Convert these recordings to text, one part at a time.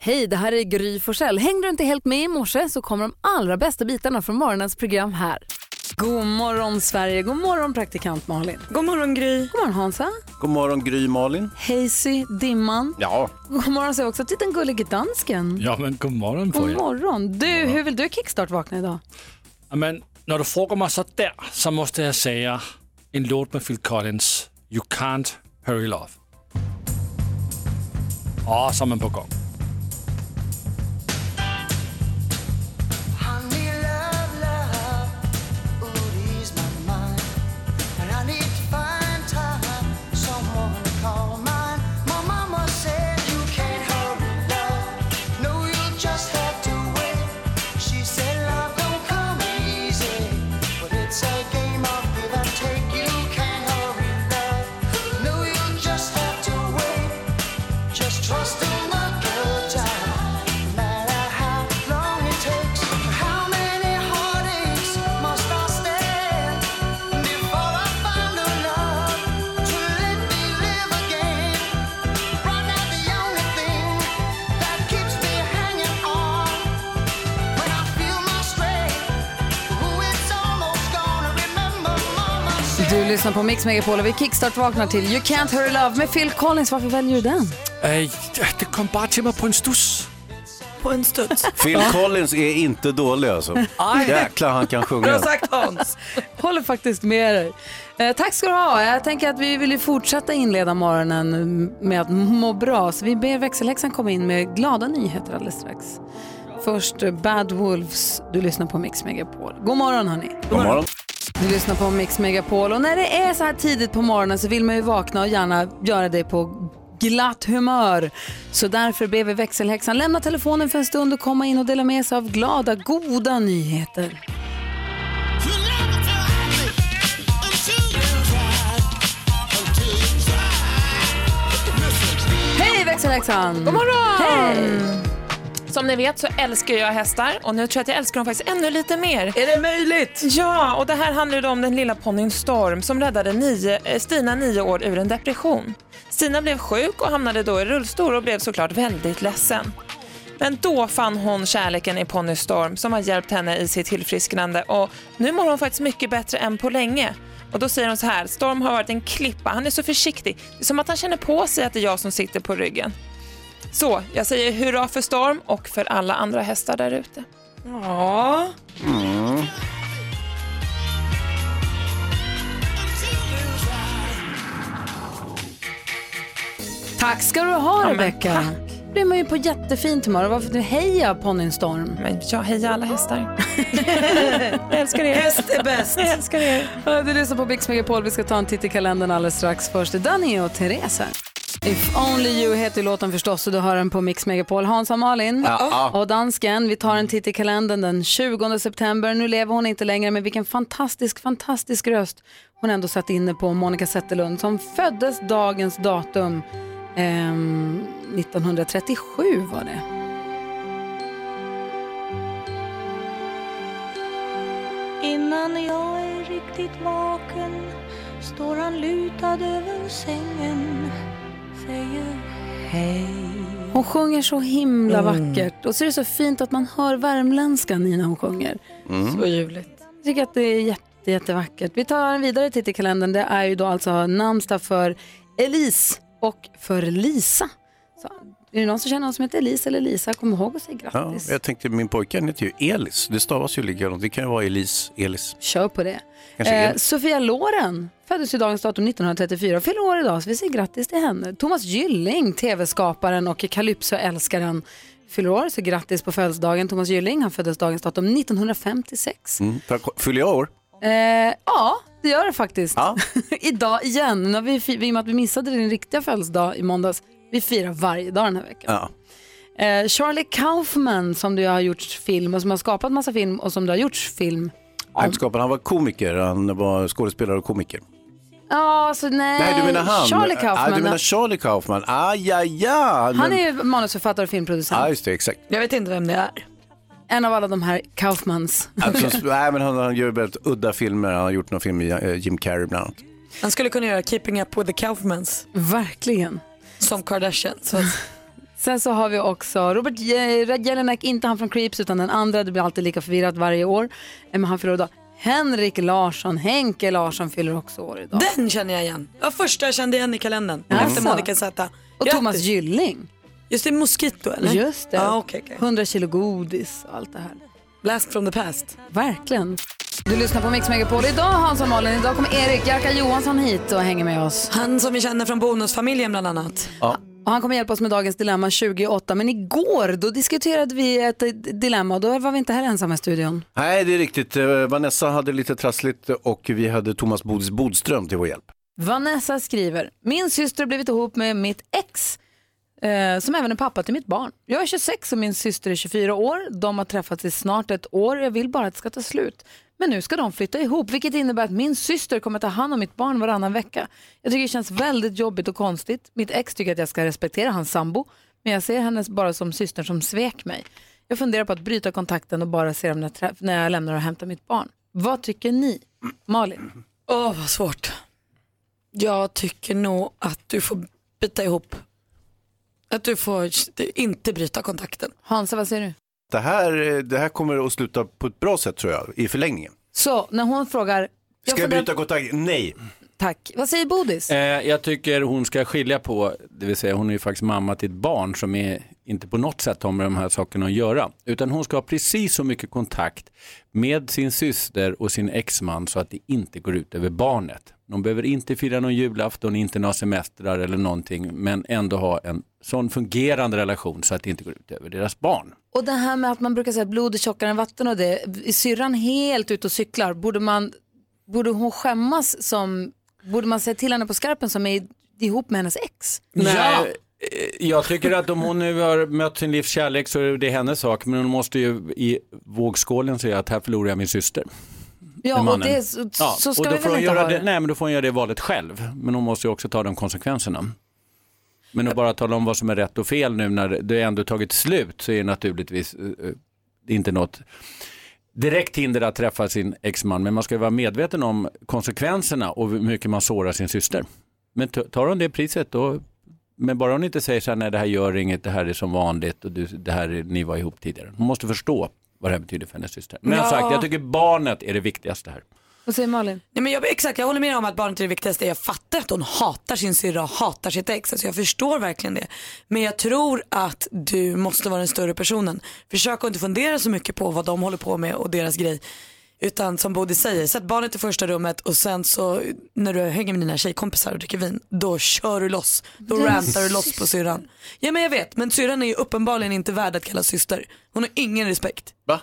Hej, det här är Gry Forssell. Hängde du inte helt med i morse så kommer de allra bästa bitarna från morgonens program här. God morgon Sverige, god morgon praktikant Malin. God morgon Gry. God morgon Hansa. God morgon Gry Malin. Hazy, Dimman. Ja. God morgon säger jag också till den gullige dansken. Ja, men god morgon på God er. morgon. Du, hur vill du kickstart-vakna idag? Ja, Men när du frågar mig så där så måste jag säga en låt med Phil Collins, You Can't Hurry Love. Ja, så är man på gång. I need love, love, ooh, ease my mind. And I need to find time, someone to call mine. My mama said you can't hurry love, no, you'll just have to wait. She said love don't come easy, but it's a game of give and take. You can't hurry love, no, you'll just have to wait. Just trust in the good time. No matter how long it takes, how many heartaches must I stand before I find a love to let me live again? Right now, the only thing that keeps me hanging on when I feel my strength, who it's almost gonna remember, Mama Du said. lyssnar på Mix Megapol och vi kickstart-vaknar till You Can't Hurry Love med Phil Collins. Varför väljer du den? Eh, det kom bara till mig på en studs. På en studs. Phil Collins är inte dålig alltså. Jäklar han kan sjunga. Bra sagt Hans. Håller faktiskt med dig. Eh, tack ska du ha. Jag tänker att vi vill ju fortsätta inleda morgonen med att må bra. Så vi ber växelhäxan komma in med glada nyheter alldeles strax. Först eh, Bad Wolves. Du lyssnar på Mix Megapol. God morgon hörni. God morgon. Du lyssnar på Mix Megapol och när det är så här tidigt på morgonen så vill man ju vakna och gärna göra det på glatt humör. Så därför ber vi växelhäxan lämna telefonen för en stund och komma in och dela med sig av glada, goda nyheter. Hej växelhäxan! God morgon! Hej! Som ni vet så älskar jag hästar och nu tror jag att jag älskar dem faktiskt ännu lite mer. Är det möjligt? Ja, och det här handlar ju då om den lilla ponnyn Storm som räddade nio, eh, Stina nio år ur en depression. Stina blev sjuk och hamnade då i rullstol och blev såklart väldigt ledsen. Men då fann hon kärleken i ponny Storm som har hjälpt henne i sitt tillfrisknande och nu mår hon faktiskt mycket bättre än på länge. Och då säger hon så här, Storm har varit en klippa, han är så försiktig. Det är som att han känner på sig att det är jag som sitter på ryggen. Så, jag säger hurra för Storm och för alla andra hästar där ute. Ja. Tack ska du ha men Rebecca. Då blir man ju på jättefint humör. Och Varför du heja ponnyn Storm? Men jag hejar alla hästar. jag älskar er. Häst är bäst. Jag älskar er. Ja, Du lyssnar på Mix Megapol. Vi ska ta en titt i kalendern alldeles strax. Först är Danny och Therese här. If Only You heter låten förstås och du hör den på Mix Megapol. Hans och Malin och dansken. Vi tar en titt i kalendern den 20 september. Nu lever hon inte längre men vilken fantastisk, fantastisk röst hon ändå satt inne på Monica Zetterlund som föddes dagens datum ehm, 1937 var det. Innan jag är riktigt vaken står han lutad över sängen, säger hej. Hon sjunger så himla Mm. vackert och så är det så fint att man hör värmländskan i när hon sjunger. Mm. Så ljuvligt. Jag tycker att det är jätte, jättevackert. Vi tar en vidare titt i kalendern. Det är ju då alltså namnsdag för Elise och för Lisa. Så, är det någon som känner någon som heter Elise eller Lisa, kom ihåg att säga Ja, grattis. jag tänkte min pojke han heter ju Elis. Det stavas ju likadant. Det kan ju vara Elis, Elis. Kör på det. Kanske Eh, Elis. Sofia Loren föddes ju dagens datum 1934 och fyller år idag, så vi säger grattis till henne. Thomas Gylling, tv-skaparen och Calypso-älskaren, fyller år, så grattis på födelsedagen. Thomas Gylling, han föddes dagens datum 1956. Mm. För att- Fyller jag år? Eh, ja, det gör det faktiskt. Ja. Idag igen, nu har vi, fi- i och med att vi missade din riktiga födelsedag i måndags. Vi firar varje dag den här veckan. ja. Eh, Charlie Kaufman som du har gjort film och som har skapat massa film och som du har gjort film. Han, skapade, han var komiker, han var skådespelare och komiker. Ja, så nej. Nej, du menar han? Eh, Charlie Ah, Kaufman. du menar Charlie Kaufman? Ah, ja, ja. han Men- är ju manusförfattare och filmproducent. Ja, just det, exakt. Jag vet inte vem det är. En av alla de här Kaufmans. Alltså, nej, men han, han gör väldigt udda filmer. Han har gjort någon film med eh, Jim Carrey bland annat. Han skulle kunna göra Keeping Up With The Kaufmans Verkligen. som Kardashian. Så att Sen så har vi också Robert Je- Jelinek, inte han från Creeps utan den andra, det blir alltid lika förvirrat varje år. Eh, Men han fyller år idag. Henrik Larsson, Henke Larsson fyller också år idag. Den känner jag igen. Det var första jag kände igen i kalendern. Efter Alltså. Monica Z. Och Thomas Gylling, Just det, Mosquito eller? just det. Ja, Ah, okej, okej. 100 kilo godis och allt det här. Blast from the past. Verkligen. Du lyssnar på Mix Megapol. Idag Hans och Malin, idag kommer Erik Jerka Johansson hit och hänger med oss. Han som vi känner från Bonusfamiljen bland annat. Och han kommer hjälpa oss med dagens dilemma 28. Men igår då diskuterade vi ett eh, dilemma och då var vi inte här ensamma i studion. Nej, det är riktigt. Eh, Vanessa hade lite trassligt och vi hade Thomas Bodis Bodström till vår hjälp. Vanessa skriver, min syster har blivit ihop med mitt ex eh, som även är pappa till mitt barn. Jag är 26 och min syster är 24 år. De har träffats i snart ett år. Jag vill bara att det ska ta slut. Men nu ska de flytta ihop, vilket innebär att min syster kommer ta hand om mitt barn varannan vecka. Jag tycker det känns väldigt jobbigt och konstigt. Mitt ex tycker att jag ska respektera hans sambo, men jag ser henne bara som systern som svek mig. Jag funderar på att bryta kontakten och bara se dem när, jag träff- när jag lämnar och hämtar mitt barn. Vad tycker ni? Malin? Åh, vad svårt. Jag tycker nog att du får bita ihop. Att du får inte bryta kontakten. Hansa, vad säger du? Det här, eh, det här kommer att sluta på ett bra sätt tror jag, i förlängningen. Så när hon frågar, jag Ska jag funderar- bryta kontakt? Nej. Tack. Vad säger Bodis? Eh, jag tycker hon ska skilja på, det vill säga hon är ju faktiskt mamma till ett barn som är, inte på något sätt har med de här sakerna att göra. Utan hon ska ha precis så mycket kontakt med sin syster och sin exman så att det inte går ut över barnet. De behöver inte fira någon julafton, inte några semestrar eller någonting, men ändå ha en sån fungerande relation så att det inte går ut över deras barn. Och det här med att man brukar säga att blod är tjockare än vatten och det. Är syrran helt ute och cyklar? Borde, man, borde hon skämmas som, borde man säga till henne på skarpen som är ihop med hennes ex? Nej, eh, jag tycker att om hon nu har mött sin livs kärlek så är det hennes sak. Men hon måste ju i vågskålen säga att här förlorar jag min syster. med Ja, och mannen. det, är så, Ja, så och ska då vi får väl hon inte göra ha det. det? Nej, men då får hon göra det valet själv. Men hon måste ju också ta de konsekvenserna. Men att bara tala om vad som är rätt och fel nu när det ändå tagit slut så är det naturligtvis eh, eh, inte något direkt hinder att träffa sin exman. Men man ska ju vara medveten om konsekvenserna och hur mycket man sårar sin syster. Men t- tar hon det priset då, men bara hon inte säger så här, nej det här gör inget, det här är som vanligt och du, det här är, ni var ihop tidigare. Hon måste förstå vad det här betyder för hennes syster. Men som sagt, jag tycker barnet är det viktigaste här. Vad säger Malin? Nej, men jag, exakt, jag håller med om att barnet är det viktigaste. Jag fattar att hon hatar sin syrra och hatar sitt ex. Alltså jag förstår verkligen det. Men jag tror att du måste vara den större personen. Försök att inte fundera så mycket på vad de håller på med och deras grej. Utan som Bodil säger, sätt barnet i första rummet och sen så när du hänger med dina tjejkompisar och dricker vin, då kör du loss. Då rantar du loss på syrran. Ja men jag vet, men syrran är ju uppenbarligen inte värd att kallas syster. Hon har ingen respekt. Va?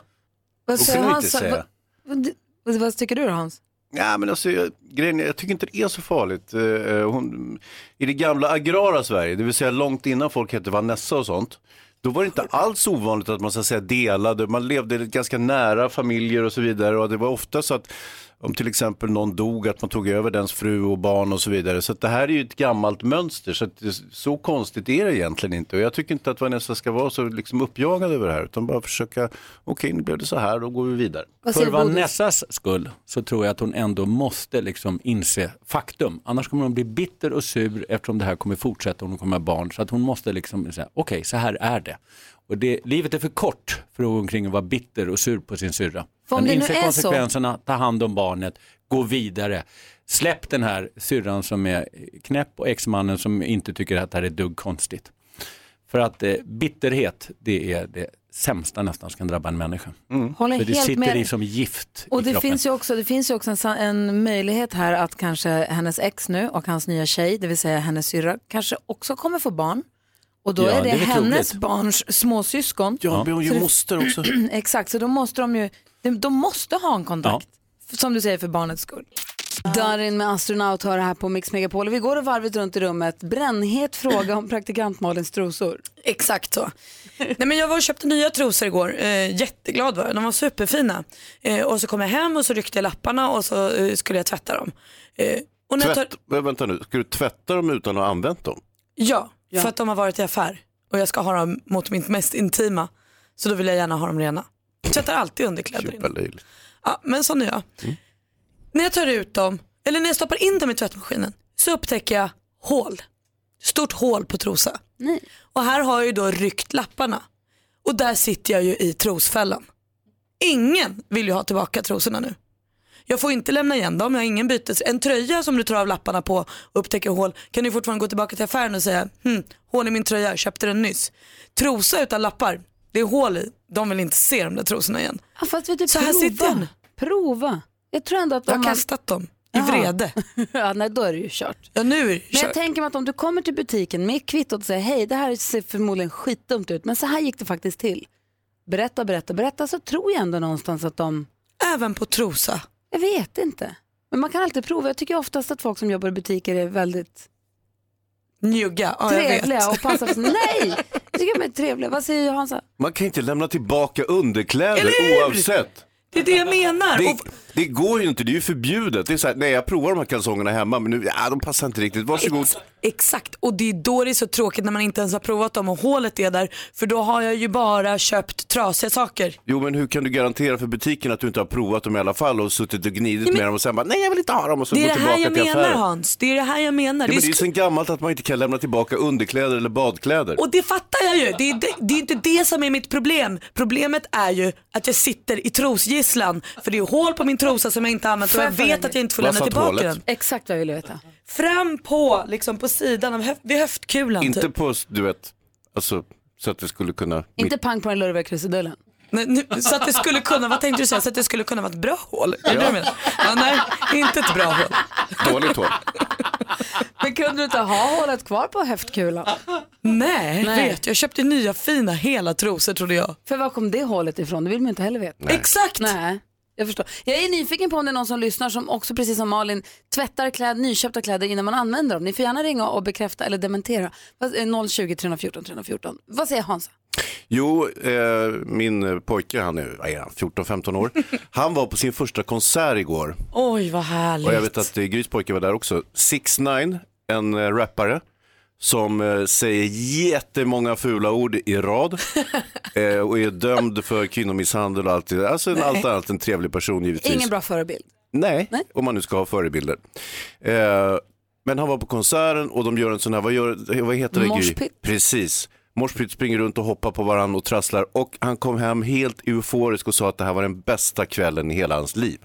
Vad Då får säger du inte Hans? säga. Vad, vad, vad tycker du då Hans? Ja, men alltså, jag, grejen är, jag tycker inte det är så farligt. Eh, eh, hon, I det gamla agrara Sverige, det vill säga långt innan folk hette Vanessa och sånt, då var det inte alls ovanligt att man så att säga, delade, man levde ganska nära familjer och så vidare. Och det var ofta så att om till exempel någon dog, att man tog över dens fru och barn och så vidare. Så att det här är ju ett gammalt mönster, så, att, det- så konstigt är det egentligen inte. Och jag tycker inte att Vanessa ska vara så liksom, uppjagad över det här, utan bara försöka, okej nu blev det så här, då går vi vidare. Vad För säger Bodis? Vanessas skull så tror jag att hon ändå måste liksom inse faktum. Annars kommer hon bli bitter och sur eftersom det här kommer fortsätta och hon kommer ha barn. Så att hon måste liksom säga, okej så här är det. Och det, livet är för kort för att gå omkring och vara bitter och sur på sin syrra. För om Men det nu inse är så- konsekvenserna, ta hand om barnet, gå vidare. Släpp den här syrran som är knäpp och exmannen som inte tycker att det här är dugg konstigt. För att eh, bitterhet, det är det sämsta nästan som kan drabba en människa. Håller För det helt sitter med i som gift Och i det kroppen. finns, ju också, det finns ju också en, sa- en möjlighet här att kanske hennes ex nu och hans nya tjej, det vill säga hennes syrra, kanske också kommer få barn. Och då Ja, är det, det är väl hennes troligt. barns småsyskon. Ja, men hon är ju moster också. Exakt, så då måste de ju de, de måste ha en kontakt. f- Som du säger, för barnets skull. Darin med astronaut hör här på Mix Megapol. Och Vi går varvet runt i rummet. Brännhet fråga om praktikant Malins trosor. Exakt så. Nej, men jag var och köpte nya trosor igår. Eh, jätteglad var jag. De var superfina. Eh, och så kom jag hem och så ryckte jag lapparna och så eh, skulle jag tvätta dem. Eh, och när jag tar, Tvätt, men vänta nu, ska du tvätta dem utan att ha använt dem? ja, för att de har varit i affär. Och jag ska ha dem mot mitt mest intima. Så då vill jag gärna ha dem rena. Jag tvättar alltid underkläder innan. Superlöjligt. Ja, men sån är jag. När jag tar ut dem, eller när jag stoppar in dem i tvättmaskinen, så upptäcker jag hål. Stort hål på trosa. Nej. Och här har jag ju då ryckt lapparna. Och där sitter jag ju i trosfällan. Ingen vill ju ha tillbaka trosorna nu. Jag får inte lämna igen dem, jag har ingen bytes. En tröja som du tar av lapparna på och upptäcker hål kan du fortfarande gå tillbaka till affären och säga hm, hål i min tröja, jag köpte den nyss. Trosa utan lappar, det är hål i, de vill inte se de där trosorna igen. Ja, fast vet du, Så prova. här sitter jag nu. Prova. Jag tror ändå att Jag om har man... kastat dem i Jaha. vrede. ja, nej, då är det ju kört. Ja, nu är det Men jag kört. tänker mig att om du kommer till butiken med kvittot och säger hej, det här ser förmodligen skitdumt ut, men så här gick det faktiskt till. Berätta, berätta, berätta, så tror jag ändå någonstans att de Även på trosa. Jag vet inte. Men man kan alltid prova. Jag tycker oftast att folk som jobbar i butiker är väldigt Njugga, ja, jag trevliga vet. och passar för Nej, jag tycker de är trevliga. Vad säger Hansa? Man kan inte lämna tillbaka underkläder Eller hur? oavsett. Det är det jag menar. Det, Och det går ju inte, det är ju förbjudet. Det är så här, nej jag provar de här kalsongerna hemma men nu, ja, de passar inte riktigt. Varsågod. Ex- Exakt, och det är då det är så tråkigt när man inte ens har provat dem och hålet är där. För då har jag ju bara köpt trasiga saker. Jo men hur kan du garantera för butiken att du inte har provat dem i alla fall och suttit och gnidit med dem och sen bara nej jag vill inte ha dem och så Det gå är det här tillbaka jag till menar affären. Hans. Det är det här jag menar. Ja, det är men det är ju sk- sen gammalt att man inte kan lämna tillbaka underkläder eller badkläder. och det fattar jag ju. Det är, det, det är inte det som är mitt problem. Problemet är ju att jag sitter i trosgisslan. För det är hål på min trosa som jag inte har använt och jag vet att jag inte får Var lämna satt tillbaka hålet? den. Exakt vad jag ville veta. Fram på, liksom på sidan av höf- vid höftkulan Inte typ. på, du vet, alltså så att det skulle kunna... Inte pang på den lurviga krusidullen. Nej, nu, så att det skulle kunna, vad tänkte du säga? Så att det skulle kunna vara ett bra hål? Är det det du menar? Ja, nej, inte ett bra hål. Mitt dåligt hål. Men kunde du inte ha hålet kvar på höftkulan? Nej, Nej. vet jag köpte nya fina hela trosor trodde jag. För var kom det hålet ifrån? Det vill man ju inte heller veta. Exakt! Nej, jag förstår. Jag är nyfiken på om det är någon som lyssnar som också precis som Malin tvättar kläder, nyköpta kläder innan man använder dem. Ni får gärna ringa och bekräfta eller dementera. Vad- eh, 020 314 314. Vad säger Hansa? Jo, eh, min eh, pojke, han är, vad är han, 14-15 år, han var på sin första konsert igår. Oj vad härligt. Och jag vet att eh, Grys pojke var där också. 6 9 en eh, rappare som eh, säger jättemånga fula ord i rad eh, och är dömd för kvinnomisshandel och allt det där. Alltså en allt annat än trevlig person givetvis. Ingen bra förebild. Nej, Nej. om man nu ska ha förebilder. Eh, men han var på konserten och de gör en sån här, vad, gör, vad heter det Gry? Moshpit. Precis. Morspit springer runt och hoppar på varandra och trasslar och han kom hem helt euforisk och sa att det här var den bästa kvällen i hela hans liv.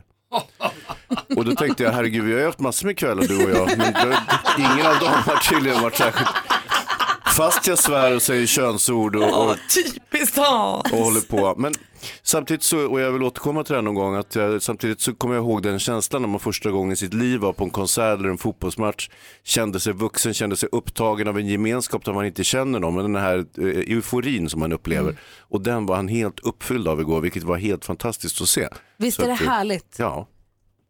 Och då tänkte jag, herregud vi har ju haft massor med kvällar du och jag, men det- ingen av dem har tydligen varit särskilt. Fast jag svär och säger könsord och, och Åh, typiskt Hans. och håller på. Men samtidigt så, och jag vill återkomma till det här någon gång, att jag, samtidigt så kommer jag ihåg den känslan när man första gången i sitt liv var på en konsert eller en fotbollsmatch, kände sig vuxen, kände sig upptagen av en gemenskap där man inte känner någon, men den här eh, euforin som man upplever. Mm. Och den var han helt uppfylld av igår, vilket var helt fantastiskt att se. Visst Så är det att, eh, härligt? Ja.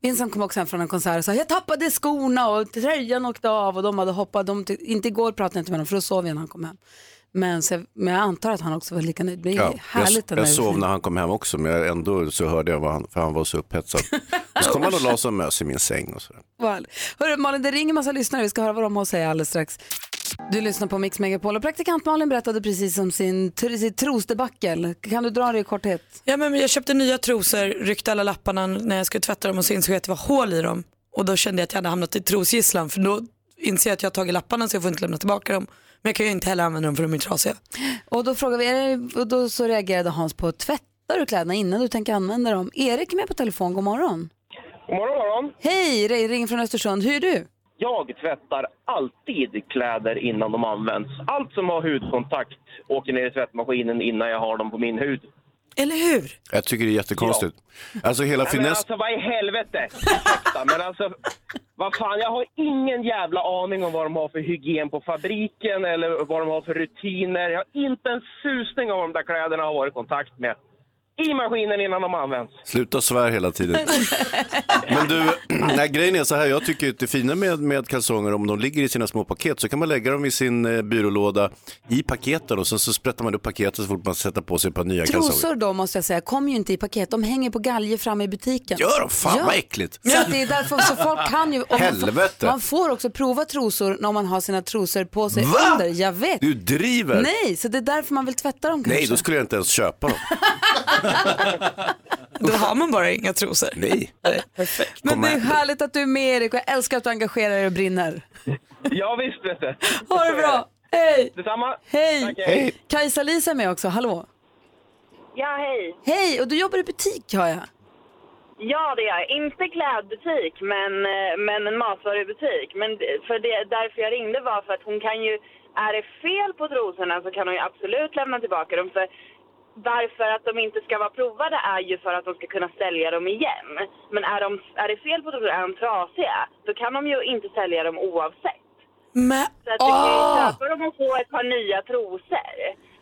Vincent kom också hem från en konsert och sa jag tappade skorna och tröjan åkte av och de hade hoppat. De ty- inte igår pratade jag inte med dem för då sov jag när han kom hem. Men, så, jag- men jag antar att han också var lika nöjd. Det är Ja, härligt jag den jag här sov när han kom hem också men jag, ändå så hörde jag vad han, för han var så upphetsad. Och så kom han och la sig och mös i min säng. Och så. Vad härligt. Hörru, Malin, det ringer massa lyssnare. Vi ska höra vad de har att säga alldeles strax. Du lyssnar på Mix Megapol och praktikant Malin berättade precis om sin, tr- sitt trosdebacle. Kan du dra det i korthet? Ja, men jag köpte nya trosor, ryckte alla lapparna när jag skulle tvätta dem och så insåg jag att det var hål i dem. Och då kände jag att jag hade hamnat i trosgisslan för då inser jag att jag har tagit lapparna så jag får inte lämna tillbaka dem. Men jag kan ju inte heller använda dem för de är trasiga. Och då, frågade vi, är det- och då så reagerade Hans på tvättar du kläderna innan du tänker använda dem? Erik är med på telefon, god morgon. God morgon, morgon. Hej, Ray ringer från Östersund. Hur är du? Jag tvättar alltid kläder innan de används. Allt som har hudkontakt åker ner i tvättmaskinen innan jag har dem på min hud. Eller hur? Jag tycker det är jättekonstigt. Alltså hela Nej, men finess... alltså vad i helvete! Ursäkta, men alltså... Vad fan, jag har ingen jävla aning om vad de har för hygien på fabriken eller vad de har för rutiner. Jag har inte en susning om vad de där kläderna har varit i kontakt med. I maskinen innan de används. Sluta svär hela tiden. Men du, nej, grejen är så här, jag tycker att det fina med, med kalsonger, om de ligger i sina små paket så kan man lägga dem i sin eh, byrålåda i paketen och sen så sprättar man upp paketet så fort man sätter på sig ett par nya kalsonger. Trosor då måste jag säga, kommer ju inte i paket. De hänger på galge framme i butiken. Gör de? Fan Ja. vad äckligt! Så att det är därför så folk kan ju... om man får- Helvete. Man får också prova trosor när man har sina trosor på sig Va? under. Jag vet. Du driver! Nej, så det är därför man vill tvätta dem kanske. Nej, då skulle jag inte ens köpa dem. Då har man bara inga trosor. Nej. Perfekt. Men det är Kom här. härligt att du är med Erik och jag älskar att du engagerar dig och brinner. Ja, visst vet du. Ha det bra. Hej! Detsamma. Hej! Tack, hej. Kajsa-Lisa är med också, hallå. Ja, hej. Hej, och du jobbar i butik hör jag. Ja, det är jag. Inte klädbutik, men, eh, men en matvarubutik. Men d- för det, därför jag ringde var för att hon kan ju... Är det fel på trosorna så kan hon ju absolut lämna tillbaka dem. För varför att de inte ska vara provade är ju för att de ska kunna sälja dem igen. Men är, de, är det fel på trosorna, är de trasiga, då kan de ju inte sälja dem oavsett. Men Så att du kan ju Åh! köpa dem och få ett par nya trosor.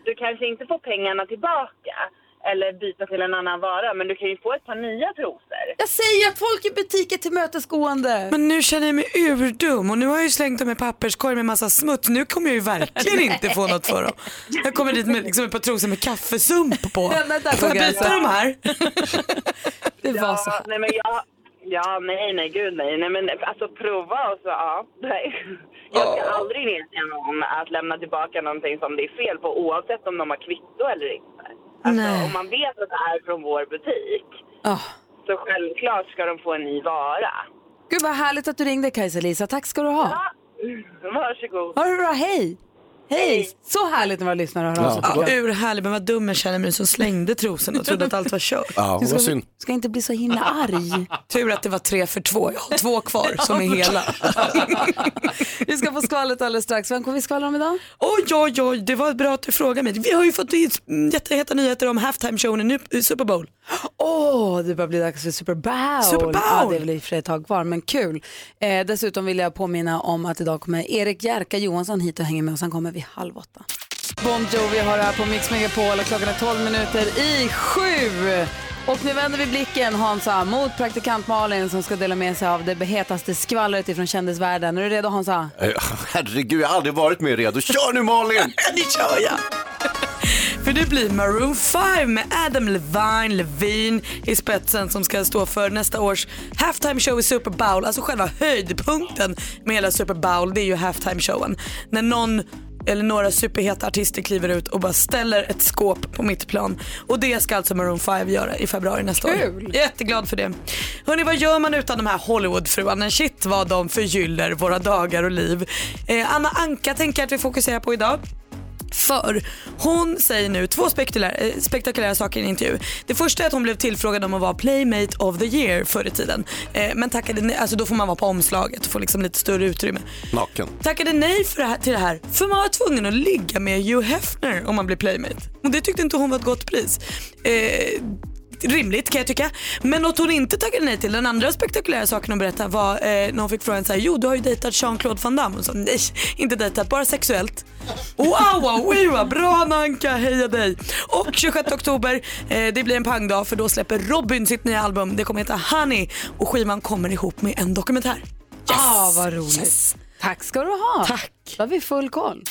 Du kanske inte får pengarna tillbaka eller byta till en annan vara, men du kan ju få ett par nya trosor. Jag säger att folk i butiker till mötesgående. Men nu känner jag mig urdum och nu har jag ju slängt dem i papperskorg med massa smuts. Nu kommer jag ju verkligen inte få något för dem. Jag kommer dit med liksom ett par trosor med kaffesump på. Ja, men där Får går jag byta gränsen. de här? Det var alltså. så. Ja, nej, men jag... Ja, nej, nej, gud nej. nej men alltså prova och så, ja. Nej. Jag ska aldrig neka någon att lämna tillbaka någonting som det är fel på oavsett om de har kvitto eller inte. Alltså, Nej. om man vet att det är från vår butik Ah. så självklart ska de få en ny vara. Gud vad härligt att du ringde Kajsa-Lisa, tack ska du ha. Ja, varsågod. Ha det bra, hej! Hej! Så härligt när våra lyssnare hör av sig Ja, tycker jag. urhärlig, men vad dum jag känner mig som slängde trosorna och trodde att allt var kört. Ja, vad synd. Ska inte bli så himla arg. Tur att det var tre för två. Jag har två kvar som är hela. Vi ska få skvallret alldeles strax. Vem kommer vi skvallra om idag? Oj, oj, oj, det var bra att du frågade mig. Vi har ju fått in jätteheta nyheter om halftime-showen i nu- Super Bowl. Åh, det börjar bli dags för Super Bowl. Super Bowl! Ja, det är väl i och för sig ett tag kvar, men kul. Eh, dessutom vill jag påminna om att idag kommer Erik Jerka Johansson hit och hänger med oss. Han kommer vid halv åtta. Bon Jovi har det här på Mix Megapol och klockan är 12 minuter i sju. Och nu vänder vi blicken, Hansa, mot praktikant Malin som ska dela med sig av det hetaste skvallret ifrån kändisvärlden. Är du redo, Hansa? Eh, Herregud, jag har aldrig varit mer redo. Kör nu Malin! Det gör jag. För det blir Maroon 5 med Adam Levine, Levine i spetsen som ska stå för nästa års halftime show i Super Bowl. Alltså själva höjdpunkten med hela Super Bowl det är ju halftime showen. När någon eller några superheta artister kliver ut och bara ställer ett skåp på mitt plan. Och det ska alltså Maroon 5 göra i februari nästa år. Jätteglad för det. Hörni, vad gör man utan de här Hollywoodfruarna? Shit vad de förgyller våra dagar och liv. Eh, Anna Anka tänker jag att vi fokuserar på idag. För hon säger nu två spektakulära, eh, spektakulära saker i en intervju. Det första är att hon blev tillfrågad om att vara Playmate of the year förr i tiden. Eh, men tackade nej, alltså då får man vara på omslaget och få liksom lite större utrymme. Naken. Tackade nej för det här, till det här för man var tvungen att ligga med Hugh Hefner om man blev Playmate. Och det tyckte inte hon var ett gott pris. Eh, Rimligt kan jag tycka. Men något hon inte tackade nej till, den andra spektakulära saken hon berättade var eh, när hon fick frågan så här, jo du har ju dejtat Jean-Claude Van Damme. Hon sa nej, inte dejtat, bara sexuellt. Wow, wow, wow, bra Nanka, heja dig. Och 26 oktober, eh, det blir en pangdag för då släpper Robin sitt nya album. Det kommer heta Honey och skivan kommer ihop med en dokumentär. Ah, vad roligt. Tack ska du ha. Tack. Då har vi full koll.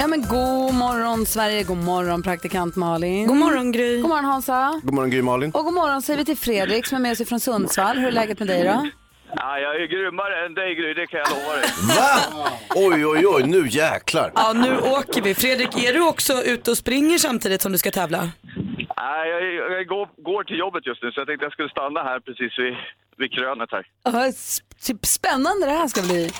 Ja, men god morgon Sverige, god morgon praktikant Malin. God morgon Gry. God morgon Hansa. God morgon Gry Malin. Och god morgon säger vi till Fredrik som är med sig från Sundsvall. Hur är läget med dig då? Ja, jag är grymmare än dig Gry, det kan jag lova dig. Va? Oj, oj, oj, nu jäklar. Ja, nu åker vi. Fredrik, är du också ute och springer samtidigt som du ska tävla? Nej, jag, jag går, går till jobbet just nu så jag tänkte jag skulle stanna här precis vid, vid krönet här. Ja, s- typ Spännande det här ska bli.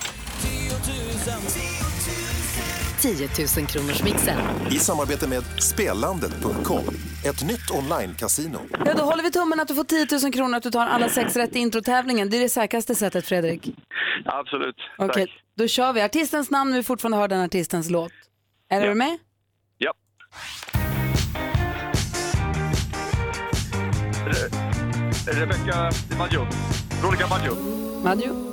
10 000 kronors mixen. I samarbete med spelandet.com, ett nytt online-casino. Ja, då håller vi tummen att du får 10 000 kronor att du tar alla sex rätt i introtävlingen. Det är det säkraste sättet Fredrik. Absolut, Okej, tack. då kör vi. Artistens namn, vi fortfarande hör den artistens låt. Är du med? Ja. Re- Rebecca Maggio. Veronica Maggio. Maggio?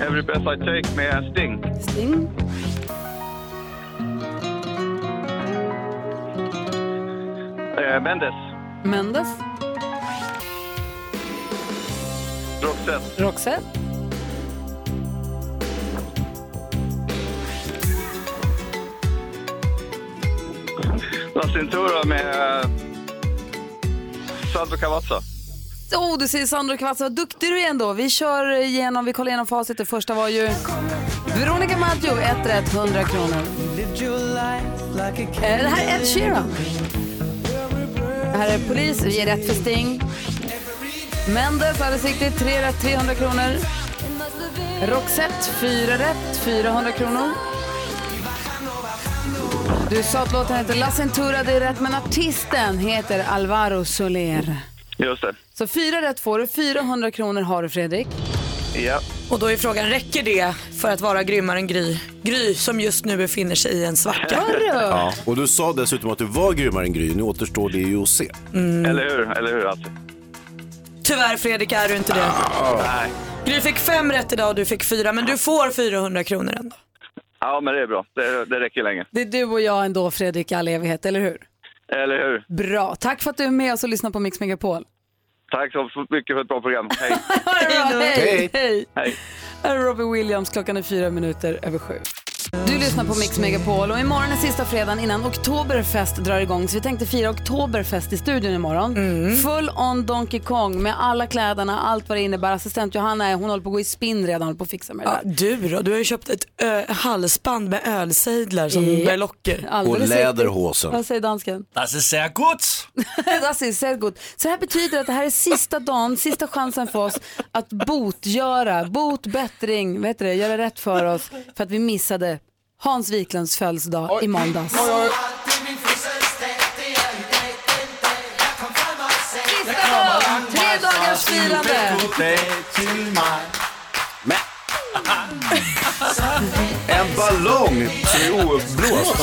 Every breath I take med Sting. Sting? Eh, Mendes. Mendes? Roxette. Roxette? La Cintura med eh, Sandro Cavazza. Åh, Oh, du säger Sandro Kvast, vad duktig du är ändå. Vi kör igenom, vi kollar igenom facit. Det första var ju Veronica Maggio, ett rätt, 100 kronor. Eh, Det här är Ed Sheeran. Här är polis, vi ger rätt för Sting. Mendes, alldeles riktigt, 3 rätt, 300 kronor. Roxette, 4 rätt, 400 kronor. Du sa att låten heter La Centura, det är rätt, men artisten heter Alvaro Soler. Just det. Så fyra rätt får du, 400 kronor har du Fredrik. Ja. Och då är frågan, räcker det för att vara grymmare än Gry? Gry som just nu befinner sig i en svacka. Ja. Och du sa dessutom att du var grymmare än Gry. Nu återstår det ju att se. Eller hur? Eller hur alltså? Tyvärr Fredrik är du inte det. Nej. Gry fick fem rätt idag och du fick fyra, men du får 400 kronor ändå. Ja, men det är bra. Det, det räcker länge. Det är du och jag ändå Fredrik i all evighet, eller hur? Eller hur? Bra, tack för att du är med oss och lyssnar på Mix Megapol. Tack så mycket för ett bra program. Hej! Hej, hej. Hej. Här är Robbie Williams, klockan är fyra minuter över sju. Du lyssnar på Mix Megapol och imorgon är sista fredagen innan Oktoberfest drar igång så vi tänkte fira Oktoberfest i studion imorgon. Full on Donkey Kong med alla kläderna, allt vad det innebär. Assistent Johanna är, hon håller på att gå i spinn redan, håller på att fixa med det Ja, där. du då? Du har ju köpt ett ö, halsband med ölsejdlar som Ja. berlocker. Alldeles riktigt. Vad Alltså, säger dansken? Das ist sehr gut. das ist sehr gut. Så Alltså, det här betyder att det här är sista dagen, sista chansen för oss att botgöra, botbättring, vad heter det, göra rätt för oss för att vi missade Hans Wiklunds födelsedag i måndags. Tre dagars firande! En ballong som är ouppblåst.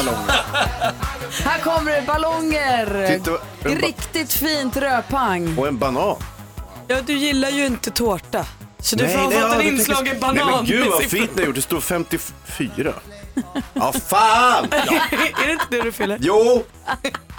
Här kommer det ballonger! Titta, en ba- Riktigt fint röpang. Och en banan. Ja, du gillar ju inte tårta. Så du Nej, får ha nej, ja, fått en det inslagen tänker- banan. Nej, men gud med vad siffror. fint ni har gjort. Det står 54. Ja, fan! är det inte det du fyller? Jo!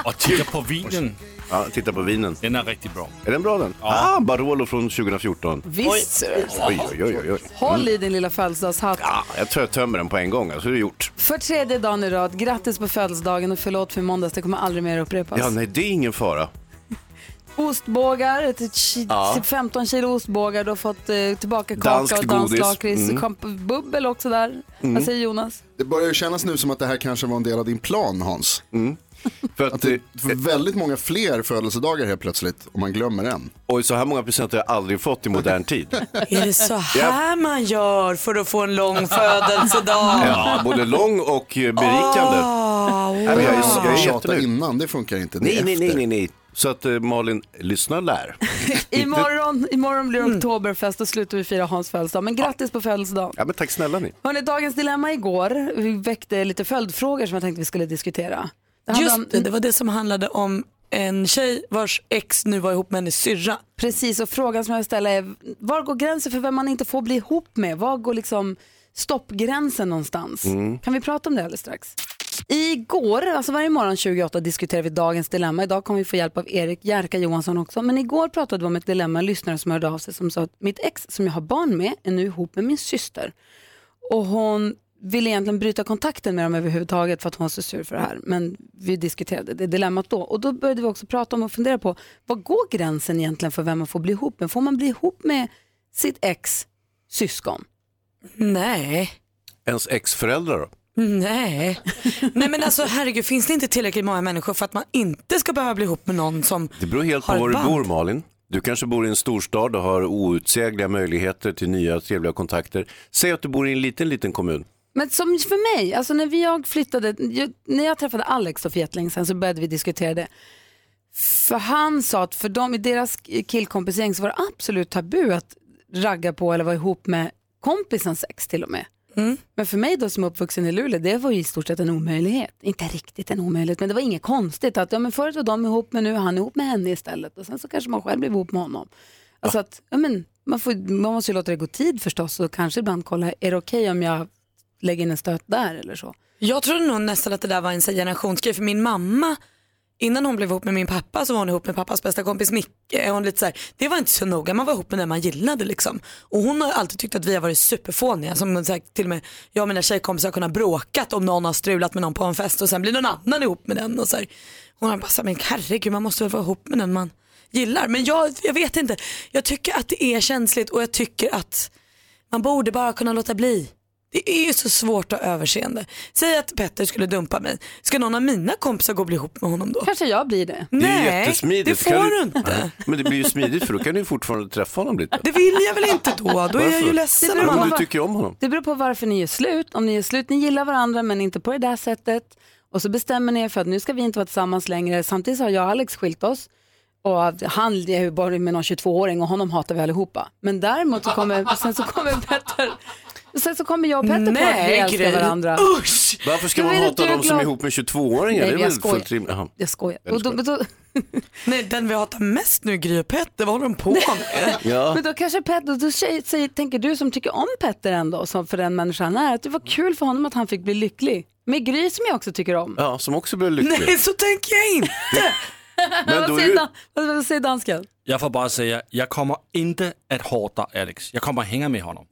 Och titta på vinen. Ja, titta på vinen. Den är riktigt bra. Är den bra den? Ah, Barolo från 2014. Visst ser det ut så. Oj, oj, oj, oj, oj. Håll i din lilla födelsedagshatt. Ja, jag tror jag tömmer den på en gång, alltså det är gjort. För tredje dagen i rad, grattis på födelsedagen och förlåt för måndags, det kommer aldrig mer upprepas. Ja, nej, det är ingen fara. Ostbågar, ett, ett, ki- Ja. typ 15 kilo ostbågar, du har fått eh, tillbaka kaka Danskt och godis. danslakrits, Mm. mm. bubbel också där. Mm. Vad säger Jonas? Det börjar ju kännas nu som att det här kanske var en del av din plan Hans. För att, det får väldigt många fler födelsedagar helt plötsligt om man glömmer en. Oj, så här många presenter har jag aldrig fått i modern tid. Är det så här man gör för att få en lång födelsedag? Ja, både lång och eh, berikande. Ah, wow. Nej, men jag är- jag är Tjata jättenöjd. innan, det funkar inte. Det Nej, är nej, efter. nej, nej, nej. Så att eh, Malin, lyssna och lär. Imorgon, imorgon blir det Mm. oktoberfest och slutar vi fira Hans födelsedag. Men grattis på födelsedagen. Ja, men tack snälla ni. Hörrni, dagens dilemma igår vi väckte lite följdfrågor som jag tänkte vi skulle diskutera. Det handlar om- Just det, det var det som handlade om en tjej vars ex nu var ihop med hennes syrra. Precis, och frågan som jag vill ställa är var går gränsen för vem man inte får bli ihop med? Var går liksom stoppgränsen någonstans? Mm. Kan vi prata om det alldeles strax? Igår, alltså varje morgon 28 diskuterar vi dagens dilemma. Idag kommer vi få hjälp av Erik Jerka Johansson också. Men igår pratade vi om ett dilemma, en lyssnare som hörde av sig som sa att mitt ex som jag har barn med är nu ihop med min syster. Och hon ville egentligen bryta kontakten med dem överhuvudtaget för att hon var så sur för det här. Men vi diskuterade det dilemmat då. Och då började vi också prata om och fundera på vad går gränsen egentligen för vem man får bli ihop med? Får man bli ihop med sitt ex syskon? Nej. Ens ex-föräldrar då? Nej. Nej men alltså herregud, finns det inte tillräckligt många människor för att man inte ska behöva bli ihop med någon som Det beror helt på Har ett var du band. bor Malin. Du kanske bor i en storstad och har outsägliga möjligheter till nya trevliga kontakter. Säg att du bor i en liten, liten kommun. Men som för mig, alltså när vi- jag flyttade, jag, när jag träffade Alex då för jättelänge sedan så började vi diskutera det. För han sa att för dem i deras killkompisgäng så var det absolut tabu att ragga på eller vara ihop med kompisens ex till och med. Men för mig då som är uppvuxen i Luleå, det var ju i stort sett en omöjlighet. Inte riktigt en omöjlighet, men det var inget konstigt att ja, men förut var de ihop men nu är han ihop med henne istället och sen så kanske man själv blev ihop med honom. Alltså att, ja, men, man, får, man måste ju låta det gå tid förstås och kanske ibland kolla, är det okej om jag lägger in en stöt där eller så? Jag trodde nog nästan att det där var en så här generationsgrej för min mamma Innan hon blev ihop med min pappa så var hon ihop med pappas bästa kompis Micke. Hon lite så här, det var inte så noga, man var ihop med den man gillade liksom. Och hon har alltid tyckt att vi har varit superfåniga. Som så här, till och med jag och mina tjejkompisar har kunnat bråkat om någon har strulat med någon på en fest och sen blir någon annan ihop med den. Och så här. Hon har bara sagt, men herregud man måste väl vara ihop med den man gillar. Men jag, jag vet inte, jag tycker att det är känsligt och jag tycker att man borde bara kunna låta bli. Det är ju så svårt att ha överseende. Säg att Petter skulle dumpa mig. Ska någon av mina kompisar gå och bli ihop med honom då? Kanske jag blir det. Det är Nej, jättesmidigt. Då det kan får du inte. Men det blir ju smidigt för då kan du ju fortfarande träffa honom lite. Det vill jag väl inte då? Då är jag Varför? ju ledsen. Det beror Om på du vad- tycker om honom. Det beror på varför ni är slut. Om ni är slut, ni gillar varandra men inte på det där sättet. Och så bestämmer ni er för att nu ska vi inte vara tillsammans längre. Samtidigt så har jag och Alex skilt oss. Och han är ju bara med någon 22-åring och honom hatar vi allihopa. Men däremot så kommer, sen så kommer Petter, sen så kommer jag och Petter på att vi Nej, älskar Gry. varandra. Usch! Varför ska Jag man vet hata inte, jag är de som är glad. ihop med 22-åringar? Nej, Det är men väl jag skojar. fullt rimligt. Jaha. Jag skojar. Och då, men då, Nej, den vi hatar mest nu är Gry och Petter. Vad håller de på med? Men då kanske Petter, då säger, säger, tänker du som tycker om Petter ändå, som för den människan han är, att det var kul för honom att han fick bli lycklig. Med Gry som jag också tycker om. Ja, som också blev lycklig. Nej, så tänker jag inte. Men vad, då är säger ju- dan- vad, vad säger dansken? Jag får bara säga, jag kommer inte att hata Alex. Jag kommer hänga med honom.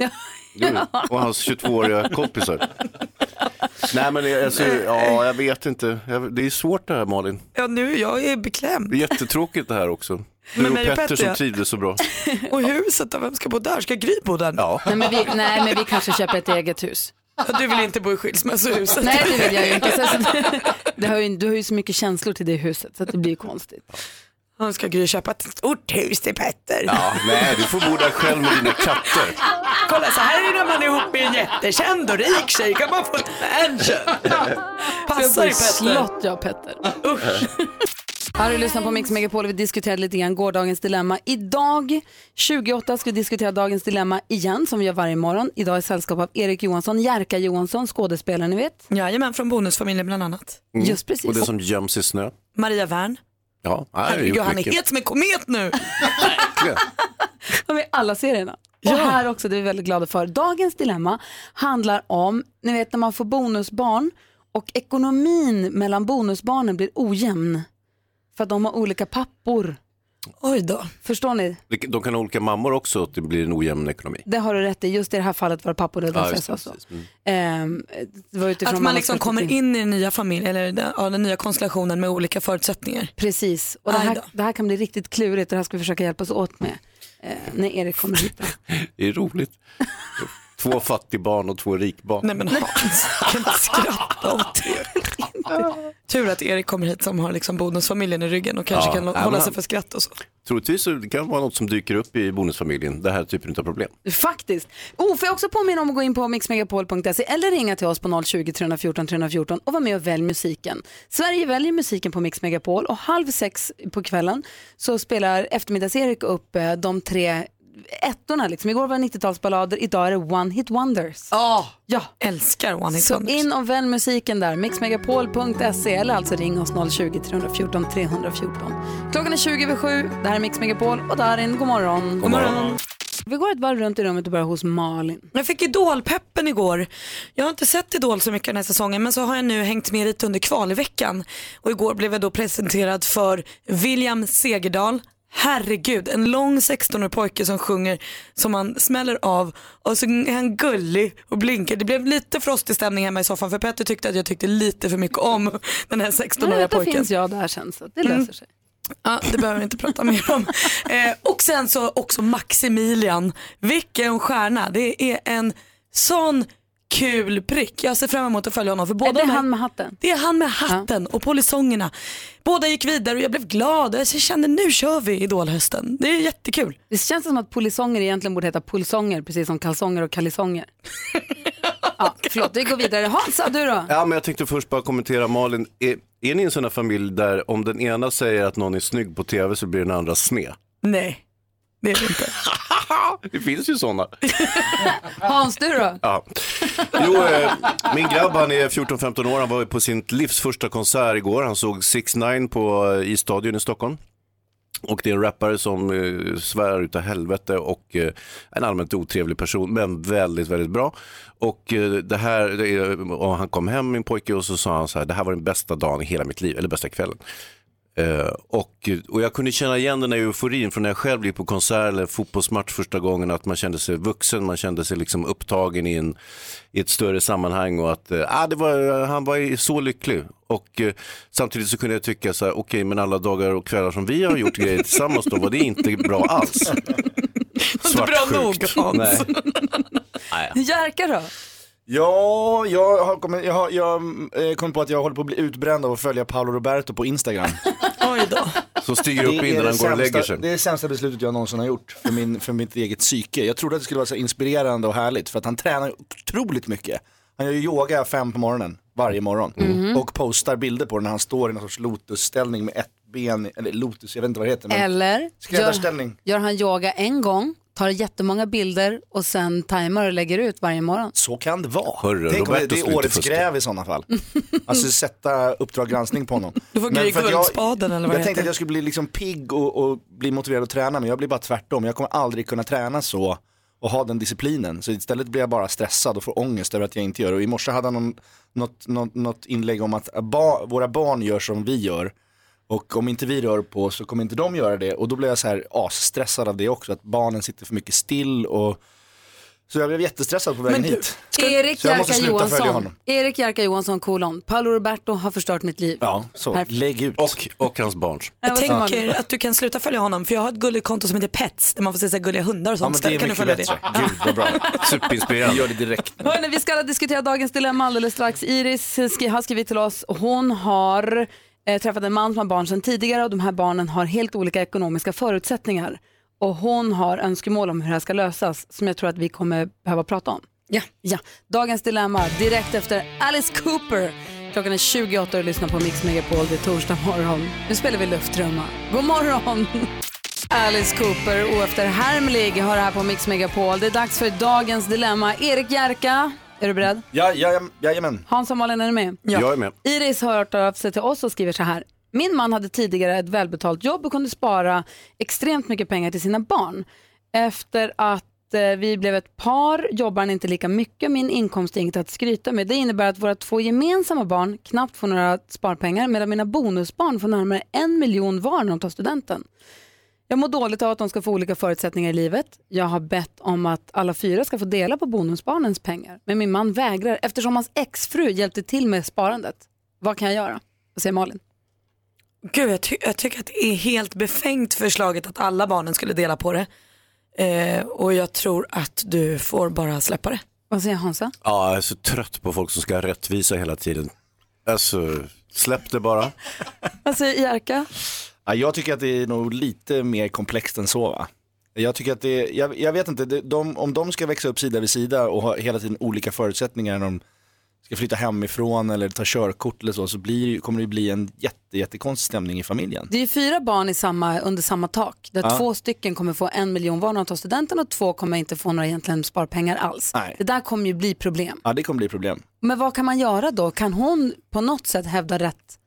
Och hans 22-åriga kompisar. Nej men alltså, ja, jag vet inte. Jag- Det är svårt det här Malin. Ja, nu jag är beklämd. Det är jättetråkigt det här också. Du Men och mig och Petter Petter, som ja. trivdes så bra. Och huset då? Vem ska bo där? Ska Gry bo där? Ja. Nej men, vi, nej men vi kanske köper ett eget hus. Du vill inte bo i skilsmässohuset? Nej det vill jag ju inte. Så, så, det, det har ju, du har ju så mycket känslor till det huset så att det blir ju konstigt. Han ska Gry köpa ett stort hus till Petter. Ja, nej, du får bo där själv med dina katter. Kolla så här är det när man är ihop med en jättekänd och rik tjej. Kan man få en mansion? Ska Passar jag bo dig i Petter? slott jag och Petter. Här har du lyssnat på Mix Megapol. Vi diskuterade lite grann gårdagens dilemma. Idag 28 ska vi diskutera dagens dilemma igen som vi gör varje morgon. Idag i sällskap av Erik Johansson, Jerka Johansson, skådespelaren ni vet. Jajamän, från Bonusfamiljen bland annat. Mm. Just precis. Och det som göms i snö. Maria Wern. Ja, nej, det Herregud, gjort han är mycket. het som en komet nu. De är i alla serierna. Och här också, det är vi väldigt glada för. Dagens dilemma handlar om, ni vet när man får bonusbarn och ekonomin mellan bonusbarnen blir ojämn. För att de har olika pappor. Oj då. Förstår ni? Det- De kan ha olika mammor också, att det blir en ojämn ekonomi. Det har du rätt i. Just i det här fallet var det pappor. Det, var Ja, därför jag just sa det, så. precis. Mm. Ehm, det var utifrån Att man mammas liksom kommer perspektiv. in i den nya familjen, eller den, ja, den nya konstellationen med olika förutsättningar. Precis, och det här, det här kan bli riktigt klurigt och det här ska vi försöka hjälpas åt med eh, när Erik kommer hit. Det är roligt. Två fattigbarn och två rikbarn. Nej men Hans, jag kan inte skratta åt det. Tur att Erik kommer hit som har liksom bonusfamiljen i ryggen och kanske Ja, kan nej, hålla men sig han- för skratt och så. Troligtvis så det kan vara något som dyker upp i bonusfamiljen, det här typen av problem. Faktiskt. Oh, får jag också påminna om att gå in på mixmegapol.se eller ringa till oss på 020 314 314 och vara med och välj musiken. Sverige väljer musiken på Mix Megapol och halv sex på kvällen så spelar eftermiddags-Erik upp eh, de tre ettorna. Liksom. Igår var det 90-talsballader, idag är det One Hit Wonders. ja. älskar One Hit Så Wonders. in och välj musiken där, mixmegapol.se eller alltså ring oss 020 314 314. Klockan är 20 över 7, det här är Mix Megapol och Darin, god morgon. God morgon. Vi går ett varv runt i rummet och börjar hos Malin. Jag fick idolpeppen igår. Jag har inte sett Idol så mycket den här säsongen men så har jag nu hängt med lite under kvalveckan. Och igår blev jag då presenterad för William Segerdahl. Herregud, en lång 16-årig pojke som sjunger som han smäller av och så är han gullig och blinkar. Det blev lite frostig stämning hemma i soffan för Petter tyckte att jag tyckte lite för mycket om den här Men 16-åriga vet, då pojken. finns jag där sen så det löser Mm. sig. Ja, det behöver vi inte prata mer om. Eh, och sen så också Maximilian. Vilken stjärna. Det är en sån kul prick. Jag ser fram emot att följa honom. För båda Är det de här- han med hatten? Det är han med hatten och polisongerna. Båda gick vidare och jag blev glad. Jag kände nu kör vi Idolhösten. Det är jättekul. Det känns som att polisonger egentligen borde heta pulsonger precis som kalsonger och kallisonger. ja, förlåt, vi går vidare. Hansa, du då? Ja, men jag tänkte först bara kommentera Malin, är, är ni en sån här familj där om den ena säger att någon är snygg på tv så blir den andra sned? Nej, det är det inte. Det finns ju sådana. Hans, du då? Ja. Jo, eh, min grabb han är 14-15 år, han var ju på sin livs första konsert igår. Han såg 6 9 på eh, i Stadion i Stockholm. Och det är en rappare som eh, svär utav helvete och eh, en allmänt otrevlig person men väldigt, väldigt bra. Och eh, det här, det är, och han kom hem min pojke och så sa han så här, det här var den bästa dagen i hela mitt liv, eller bästa kvällen. Eh, och, och jag kunde känna igen den här euforin från när jag själv gick på konsert eller fotbollsmatch första gången, att man kände sig vuxen, man kände sig liksom upptagen i, en, i ett större sammanhang och att eh, ah, det var, han var så lycklig. Och eh, samtidigt så kunde jag tycka så här, okej men alla dagar och kvällar som vi har gjort grejer tillsammans då var det inte bra alls. Inte bra nog Svartsjukt. Hans. Nej. Jerka då? Ja, jag har kommit, jag har, jag, eh, kom på att jag håller på att bli utbränd av att följa Paolo Roberto på Instagram. Så stiger upp Det är innan det han går och lägger sämsta- sig. Det är det sämsta beslutet jag någonsin har gjort för, min, för mitt eget psyke. Jag trodde att det skulle vara så inspirerande och härligt för att han tränar otroligt mycket. Han gör ju yoga fem på morgonen varje morgon Mhm. och postar bilder på det när han står i någon sorts lotusställning med ett ben, eller lotus, jag vet inte vad det heter. Men Eller Skräddarställning. gör, gör han yoga en gång, tar jättemånga bilder och sen tajmar och lägger ut varje morgon. Så kan det vara. Hörru, Tänk om det, Roberto det slutar är årets fuska. gräv i sådana fall. Alltså sätta Uppdrag granskning på honom. Du får Men Gry för att jag- Gullspaden eller vad Jag det tänkte heter. att jag skulle bli liksom pigg och, och bli motiverad att träna men jag blir bara tvärtom. Jag kommer aldrig kunna träna så och ha den disciplinen. Så istället blir jag bara stressad och får ångest över att jag inte gör det. Och i morse hade han någon, något, något, något inlägg om att ba, våra barn gör som vi gör. Och om inte vi rör på oss så kommer inte de göra det. Och då blev jag så här asstressad av det också. Att barnen sitter för mycket still och så jag blev jättestressad på vägen Men du, hit. Erik Så jag måste Jerka sluta följa Johansson, honom. Erik Jerka Johansson kolon, Paolo Roberto har förstört mitt liv. Ja, så. Perfekt. Lägg ut. Och, och hans barns. Jag Ja, vad tänker smart. att du kan sluta följa honom för jag har ett gulligt konto som heter Pets där man får se så här gulliga hundar och Ja, sånt. men det Istället är kan du mycket följa bättre. Gud vad det. bra. Superinspirerande. Vi gör det direkt. Hörrni, vi ska alla diskutera dagens dilemma alldeles strax. Iris skri- har skrivit till oss. Hon har eh, träffat en man som har barn sedan tidigare och de här barnen har helt olika ekonomiska förutsättningar. Och hon har önskemål om hur det här ska lösas som jag tror att vi kommer behöva prata om. Ja. ja. Dagens dilemma direkt efter Alice Cooper. Klockan är 28 och du lyssnar på Mix Megapol. Det är torsdag morgon. Nu spelar vi luftdrömmar. God morgon! Alice Cooper oefterhärmlig har det här på Mix Megapol. Det är dags för dagens dilemma. Erik Jerka, är du beredd? Ja, ja, jajamän. Hans och Malin, är ni med? Jag är med. Iris har hört av sig till oss och skriver så här. Min man hade tidigare ett välbetalt jobb och kunde spara extremt mycket pengar till sina barn. Efter att eh, vi blev ett par jobbar han inte lika mycket. Min inkomst är inget att skryta med. Det innebär att våra två gemensamma barn knappt får några sparpengar medan mina bonusbarn får närmare en miljon var när de tar studenten. Jag mår dåligt av att de ska få olika förutsättningar i livet. Jag har bett om att alla fyra ska få dela på bonusbarnens pengar. Men min man vägrar eftersom hans exfru hjälpte till med sparandet. Vad kan jag göra? Vad säger Malin? Gud, jag, ty- jag tycker att det är helt befängt förslaget att alla barnen skulle dela på det. Eh, och jag tror att du får bara släppa det. Vad säger Hansa? Ja, jag är så trött på folk som ska ha rättvisa hela tiden. Alltså, släpp det bara. Vad säger Jerka? Ja, jag tycker att det är nog lite mer komplext än så va? Jag tycker att det är, jag, jag vet inte, det, de, om de ska växa upp sida vid sida och ha hela tiden olika förutsättningar när de ska flytta hemifrån eller ta körkort eller så, så blir, det ju- kommer det ju bli en jätte, jättekonstig stämning i familjen. Det är ju fyra barn i samma, under samma tak där Ja. två stycken kommer få en miljon var när de tar studenten och två kommer inte få några egentligen sparpengar alls. Nej. Det där kommer ju bli problem. Ja, det kommer bli problem. Men vad kan man göra då? Kan hon på något sätt hävda rätt?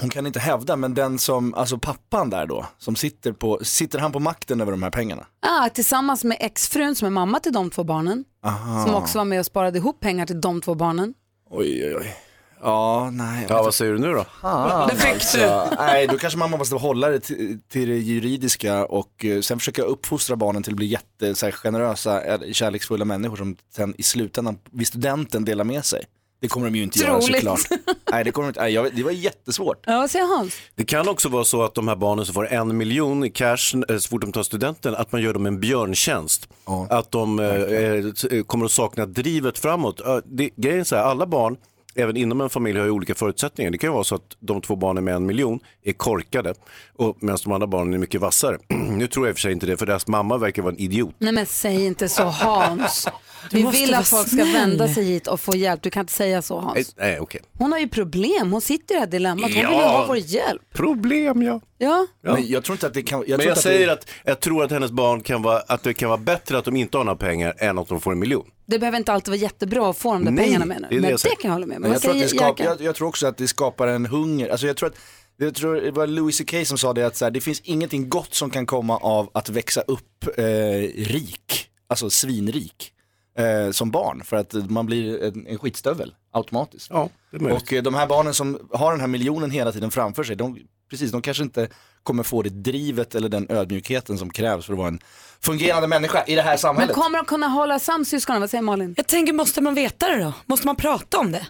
Hon kan inte hävda, men den som, alltså pappan där då, som sitter på, sitter han på makten över de här pengarna? Ah, tillsammans med exfrun som är mamma till de två barnen. Aha. Som också var med och sparade ihop pengar till de två barnen. Oj, oj, oj. Ja, nej. Ja, vad säger du nu då? Ah, Det fick du. Nej, då kanske man måste hålla det till, till det juridiska och eh, sen försöka uppfostra barnen till att bli jätte, så här, generösa, eh, kärleksfulla människor som sen i slutändan vid studenten delar med sig. Det kommer de ju inte Troligt. göra såklart. Nej, det, kommer de inte, nej, jag, det var jättesvårt. Ja, vad säger Hans? Det kan också vara så att de här barnen som får en miljon i cash eh, så fort de tar studenten, att man gör dem en björntjänst. Att de eh, eh, t- kommer att sakna drivet framåt. Eh, Det, grejen är så här, alla barn, även inom en familj, har ju olika förutsättningar. Det kan ju vara så att de två barnen med en miljon är korkade, och- medan de andra barnen är mycket vassare. nu tror jag i och för sig inte det, för deras mamma verkar vara en idiot. Nej men säg inte så Hans. Du Vi måste vill vara att folk ska snäll. vända sig hit och få hjälp. Du kan inte säga så Nej, Hans. nej, okej. Hon har ju problem. Hon sitter i det här dilemmat. Hon vill ju Ja. ha vår hjälp. Problem ja. Ja. Men jag tror inte att det kan... Jag tror Men inte jag att säger det, att jag tror att hennes barn kan vara, att det kan vara bättre att de inte har några pengar än att de får en miljon. Det behöver inte alltid vara jättebra att få de där Nej, pengarna menar det är du? det Men jag säger. det kan jag hålla med om. Men Vad jag, tror att säger det skap, Jerka? jag, jag tror också att det skapar en hunger. Alltså jag tror att jag tror det var Louis CK som sa det att så här, det finns ingenting gott som kan komma av att växa upp eh, rik, alltså svinrik, eh, som barn. För att man blir en, en skitstövel automatiskt. Ja, det är möjligt. Och eh, de här barnen som har den här miljonen hela tiden framför sig, de, precis, de kanske inte kommer få det drivet eller den ödmjukheten som krävs för att vara en fungerande människa i det här Men samhället. kommer de kunna hålla sams syskonen? Vad säger Malin? Jag tänker, måste man veta det då? Måste man prata om det?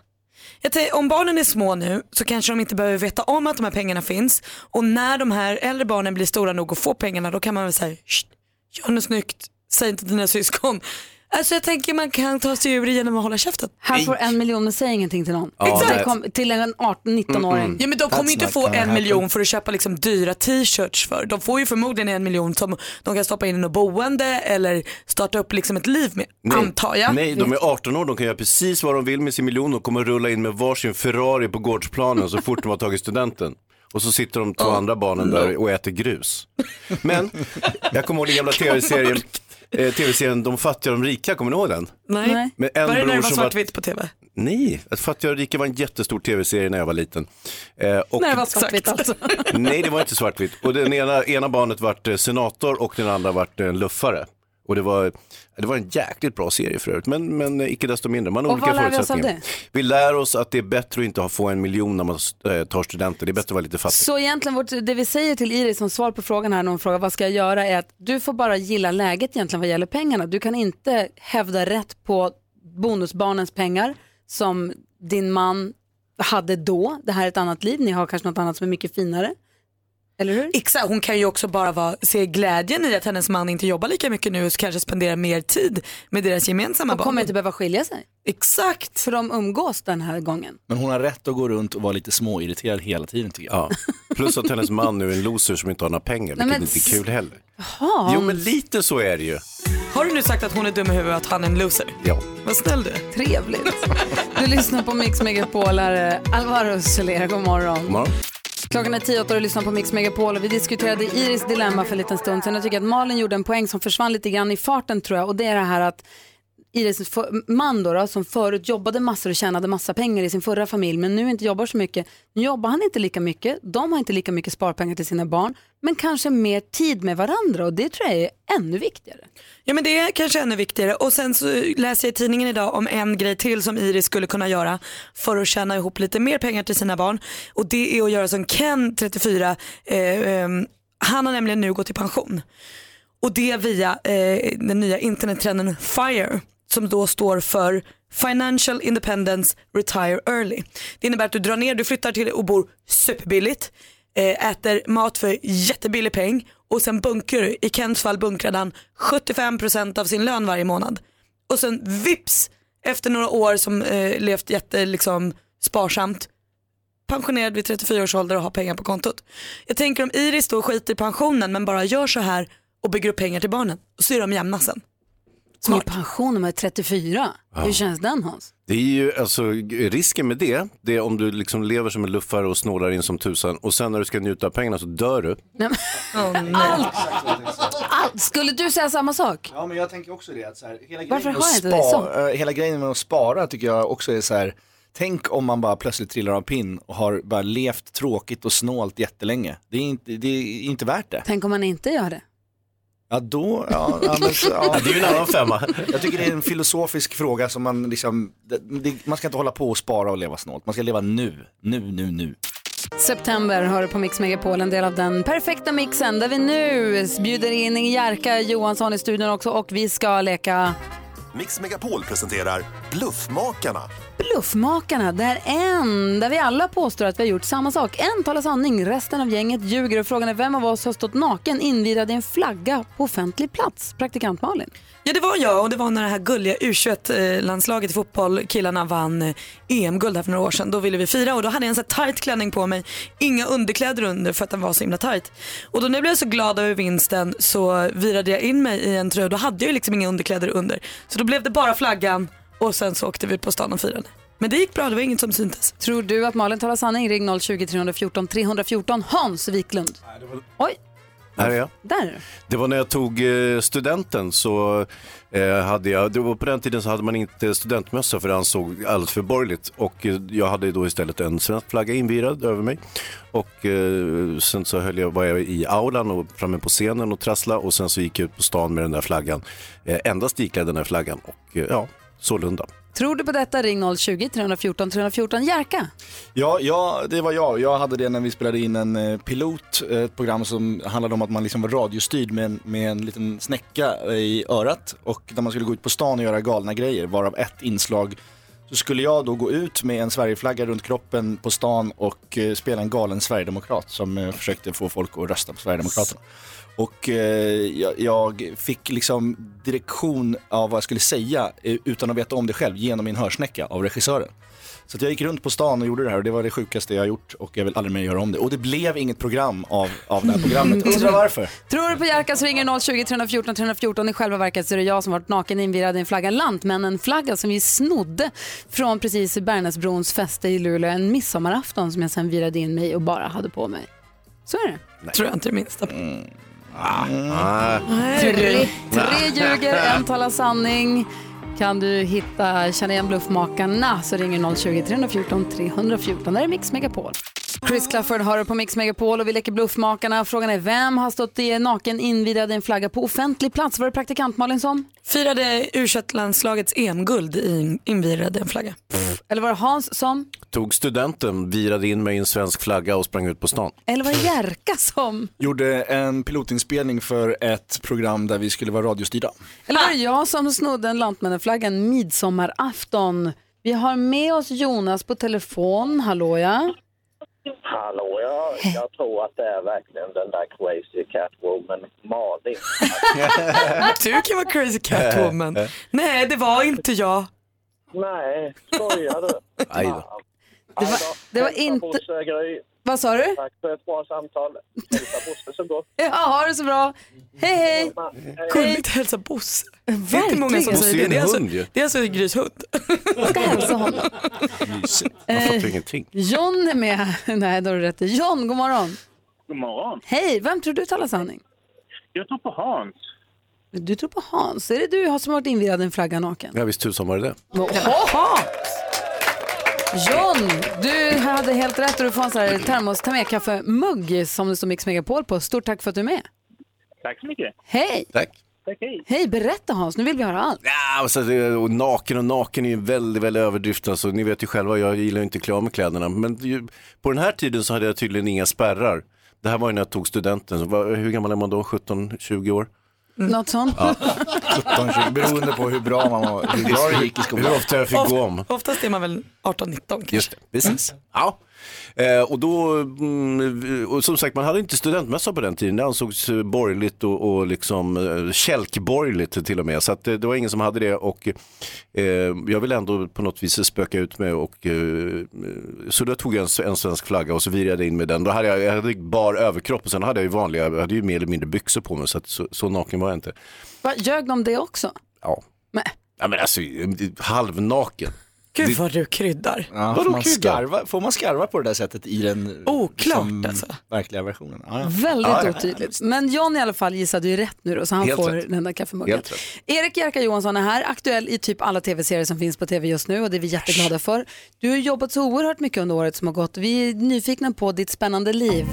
Jag tänker, om barnen är små nu så kanske de inte behöver veta om att de här pengarna finns och när de här äldre barnen blir stora nog och får pengarna då kan man väl säga, "Sht, gör något snyggt, säg inte till dina syskon. Alltså jag tänker man kan ta sig ur det genom att hålla käften. Här får en miljon men säg ingenting till någon. Ja, mm. Exakt. Det kom, till en 18-19-åring. Ja men de kommer ju inte få en miljon för att köpa liksom dyra t-shirts för. De får ju förmodligen en miljon som de kan stoppa in i något boende eller starta upp liksom ett liv med, antar jag. Nej, de är 18 år, de kan göra precis vad de vill med sin miljon. De kommer rulla in med varsin Ferrari på gårdsplanen så fort de har tagit studenten. Och så sitter de två andra barnen där och äter grus. Men jag kommer ihåg den gamla tv-serien, eh, tv-serien De fattiga och de rika, kommer ni ihåg den? Nej. Med en var det när bror det var som var- svartvitt på tv? Nej, att Fattiga och rika var en jättestor tv-serie när jag var liten. Eh, och- Nej, det var svartvitt alltså. Nej, det var inte svartvitt. Och den ena, ena barnet vart eh, senator och den andra vart eh, luffare. Och det var, det var en jäkligt bra serie för övrigt, men, men eh, icke desto mindre. Man har Och olika vad lär vi oss av förutsättningar. Vi lär oss att det är bättre att inte ha- få en miljon när man eh, tar studenter. Det är bättre att vara lite fattig. Så egentligen vårt, det vi säger till Iris som svar på frågan här när hon frågar vad ska jag göra är att du får bara gilla läget egentligen vad gäller pengarna. Du kan inte hävda rätt på bonusbarnens pengar som din man hade då. Det här är ett annat liv, ni har kanske något annat som är mycket finare. Eller hur? Exakt, hon kan ju också bara vara, se glädjen i att hennes man inte jobbar lika mycket nu och kanske spenderar mer tid med deras gemensamma Och barn. kommer inte behöva skilja sig. Exakt. För de umgås den här gången. Men hon har rätt att gå runt och vara lite småirriterad hela tiden tycker jag. Plus att hennes man nu är en loser som inte har några pengar, vilket Nej, men inte s- är kul heller. Jaha, Jo, hon- men lite så är det ju. Har du nu sagt att hon är dum i huvudet och att han är en loser? Ja. Vad snäll du är. Trevligt. Du lyssnar på Mix Megapolare. Alvaro Soler, god morgon. God morgon. Klockan är tio åtta och du lyssnar på Mix Megapol och vi diskuterade Iris dilemma för en liten stund sedan. Jag tycker att Malin gjorde en poäng som försvann lite grann i farten tror jag och det är det här att Iris för- man då, då som förut jobbade massor och tjänade massa pengar i sin förra familj men nu inte jobbar så mycket. Nu jobbar han inte lika mycket, de har inte lika mycket sparpengar till sina barn men kanske mer tid med varandra och det tror jag är ännu viktigare. Ja men det är kanske ännu viktigare och sen så läser jag i tidningen idag om en grej till som Iris skulle kunna göra för att tjäna ihop lite mer pengar till sina barn och det är att göra som Ken 34, eh, eh, han har nämligen nu gått i pension och det via eh, den nya internettrenden FIRE som då står för Financial Independence Retire Early. Det innebär att du drar ner, du flyttar till och bor superbilligt, eh, äter mat för jättebillig peng och sen bunkrar du. I Kents fall bunkrade han 75% av sin lön varje månad. Och sen vips, efter några år som eh, levt jätte, liksom, sparsamt, pensionerad vid 34 års ålder och har pengar på kontot. Jag tänker om Iris då skiter i pensionen men bara gör så här och bygger upp pengar till barnen och så är de jämna sen. Som i pension när man är 34. Ja. Hur känns den Hans? Det är ju, alltså, g- risken med det, det är om du liksom lever som en luffare och snålar in som tusan och sen när du ska njuta av pengarna så dör du. Allt, allt! Skulle du säga samma sak? Ja men jag tänker också det. Att så här, hela Varför grejen med har att jag inte det spa- eh, Hela grejen med att spara tycker jag också är så här. Tänk om man bara plötsligt trillar av pinn och har bara levt tråkigt och snålt jättelänge. Det är inte, det är inte värt det. Tänk om man inte gör det. Ja då, ja, ja, men, så- ja. Ja, det är ju en annan femma. Jag tycker det är en filosofisk fråga som man liksom, det, det, man ska inte hålla på och spara och leva snålt. Man ska leva nu, nu, nu, nu. September hör du på Mix Megapol, en del av den perfekta mixen där vi nu bjuder in Jerka Johansson i studion också och vi ska leka Mix Megapol presenterar Bluffmakarna. Bluffmakarna, där en, där vi alla påstår att vi har gjort samma sak. En talar sanning, resten av gänget ljuger och frågan är vem av oss har stått naken invirad i en flagga på offentlig plats? Praktikant Malin. Ja det var jag och det var när det här gulliga U21-landslaget i fotboll, killarna vann eh, EM-guld här för några år sedan. Då ville vi fira och då hade jag en sån här tight klänning på mig, inga underkläder under för att den var så himla tight. Och då när jag blev så glad över vinsten så virade jag in mig i en tröja, då hade jag ju liksom inga underkläder under. Så då blev det bara flaggan och sen så åkte vi ut på stan och firade. Men det gick bra, det var inget som syntes. Tror du att Malin talar sanning? Ring 020 314 314 Hans Wiklund. Oj, Här är jag. där är du. Det var när jag tog eh, studenten så eh, hade jag, det var på den tiden så hade man inte studentmössa för det ansåg alldeles för borgerligt och eh, jag hade då istället en svensk flagga invirad över mig och eh, sen så höll jag, var jag i aulan och framme på scenen och trassla och sen så gick jag ut på stan med den där flaggan, eh, endast iklädd den där flaggan och eh, ja, sålunda. Tror du på detta? Ring 020 314 314 Jerka. Ja, ja, det var jag. Jag hade det när vi spelade in en eh, pilot, eh, ett program som handlade om att man liksom var radiostyrd med en, med en liten snäcka eh, i örat och där man skulle gå ut på stan och göra galna grejer, varav ett inslag så skulle jag då gå ut med en Sverigeflagga runt kroppen på stan och eh, spela en galen sverigedemokrat som eh, försökte få folk att rösta på Sverigedemokraterna. Och eh, jag, jag fick liksom direktion av vad jag skulle säga eh, utan att veta om det själv genom min hörsnäcka av regissören. Så att jag gick runt på stan och gjorde det här och det var det sjukaste jag har gjort och jag vill aldrig mer göra om det. Och det blev inget program av, av det här programmet. Undrar varför? Tror du på Jerka så ringer 020 314 314. I själva verket så är det jag som varit naken invirad i en flagga. Lantmännen-flagga som vi snodde från precis Bärnäsbrons fäste i Luleå en midsommarafton som jag sen virade in mig och bara hade på mig. Så är det. Tror jag inte det minsta på. Ah, ah. Tre, tre ljuger, en talar sanning. Kan du hitta, känna igen bluffmakarna så ringer 020 314 314. Där är Mix Megapol. Chris Clafford har du på Mix Megapol och vi leker bluffmakarna. Frågan är vem har stått i naken invirad i en flagga på offentlig plats? Var det praktikant Malin som? Firade u landslagets EM-guld i invirade en flagga. Eller var det Hans som? Tog studenten, virade in mig i en svensk flagga och sprang ut på stan. Eller var det Jerka som? Gjorde en pilotinspelning för ett program där vi skulle vara radiostyrda. Eller var det jag som snodde en Lantmännenflaggan midsommarafton? Vi har med oss Jonas på telefon. Hallå ja. Hallå, jag, jag tror att det är verkligen den där crazy catwoman Malin. du kan vara crazy catwoman. Nej, det var inte jag. Nej, skojar du? Aj då. Det var, det var inte... Vad sa du? Tack för ett bra samtal. Hälsa Bosse så gott. Ja, ha det så bra. Hej hej. Gulligt att hälsa Bosse. Det är inte många som Verkligen. säger det. Det är alltså, Bosse är en hund ju. det är alltså Grys hund. Jag ska hälsa honom. Mysigt. Eh. Man fattar ingenting. John är med. Nej, då har du rätt. John, god morgon. God morgon. Hej, vem tror du talar sanning? Jag tror på Hans. Du tror på Hans. Är det du som har varit invirad i en flagga naken? Ja, visst tusan var det det. Ohoho! John, du hade helt rätt och du får en sån här termos ta med kaffe-mugg som det står Mix Megapol på. Stort tack för att du är med. Tack så mycket. Hej! Tack. Tack, hej. Hej, berätta Hans, nu vill vi höra allt. Ja, alltså, det- och naken och naken är ju en väldigt, väldigt överdrift. Alltså, ni vet ju själva, jag gillar ju inte att klä av mig kläderna. Men ju, på den här tiden så hade jag tydligen inga spärrar. Det här var ju när jag tog studenten. Så, vad- hur gammal är man då? 17-20 år? Något sånt? Ja. 17-20, beroende på hur bra man var, hur bra det gick i skolan. Hur ofta jag fick gå om. Oftast är man väl 18-19 Just det, precis. Ja. Eh, och då, mm, och som sagt man hade inte studentmässa på den tiden. Det ansågs eh, borgerligt och, och liksom eh, kälkborgerligt till och med. Så att, eh, det var ingen som hade det och eh, jag ville ändå på något vis spöka ut mig. Och, eh, så då tog jag en, en svensk flagga och så virade jag in med den. Då hade jag, jag hade bar överkropp och sen hade jag ju vanliga, jag hade ju mer eller mindre byxor på mig så, att, så, så naken var jag inte. Va, ljög de det också? Ja. Ja, men alltså halvnaken. Gud vad du kryddar. Ja, får, man skarva, får man skarva på det där sättet i den Oklart, alltså. verkliga versionen? Ja, ja. Väldigt Ja, ja. otydligt. Men John i alla fall gissade ju rätt nu då, så han Helt får rätt. den där kaffemuggen. Helt rätt. Erik Jerka Johansson är här, aktuell i typ alla tv-serier som finns på tv just nu och det är vi jätteglada för. Du har jobbat så oerhört mycket under året som har gått. Vi är nyfikna på ditt spännande liv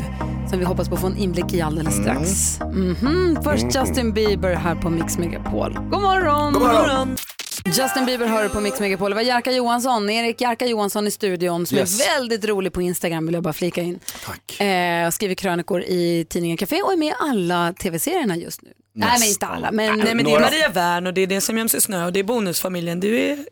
som vi hoppas på att få en inblick i alldeles strax. Mhm, Först Mm. Justin Bieber här på Mix Megapol. God morgon! God morgon. Justin Bieber hör du på Mix Megapol. Det var Jerka Johansson, Erik Jerka Johansson i studion som Yes. är väldigt rolig på Instagram vill jag bara flika in. Tack. Eh, skriver krönikor i tidningen Café och är med i alla tv-serierna just nu. Nej men inte alla. Men, Nej, men det är Maria Wern och det är det som göms i snö och det är Bonusfamiljen. Du är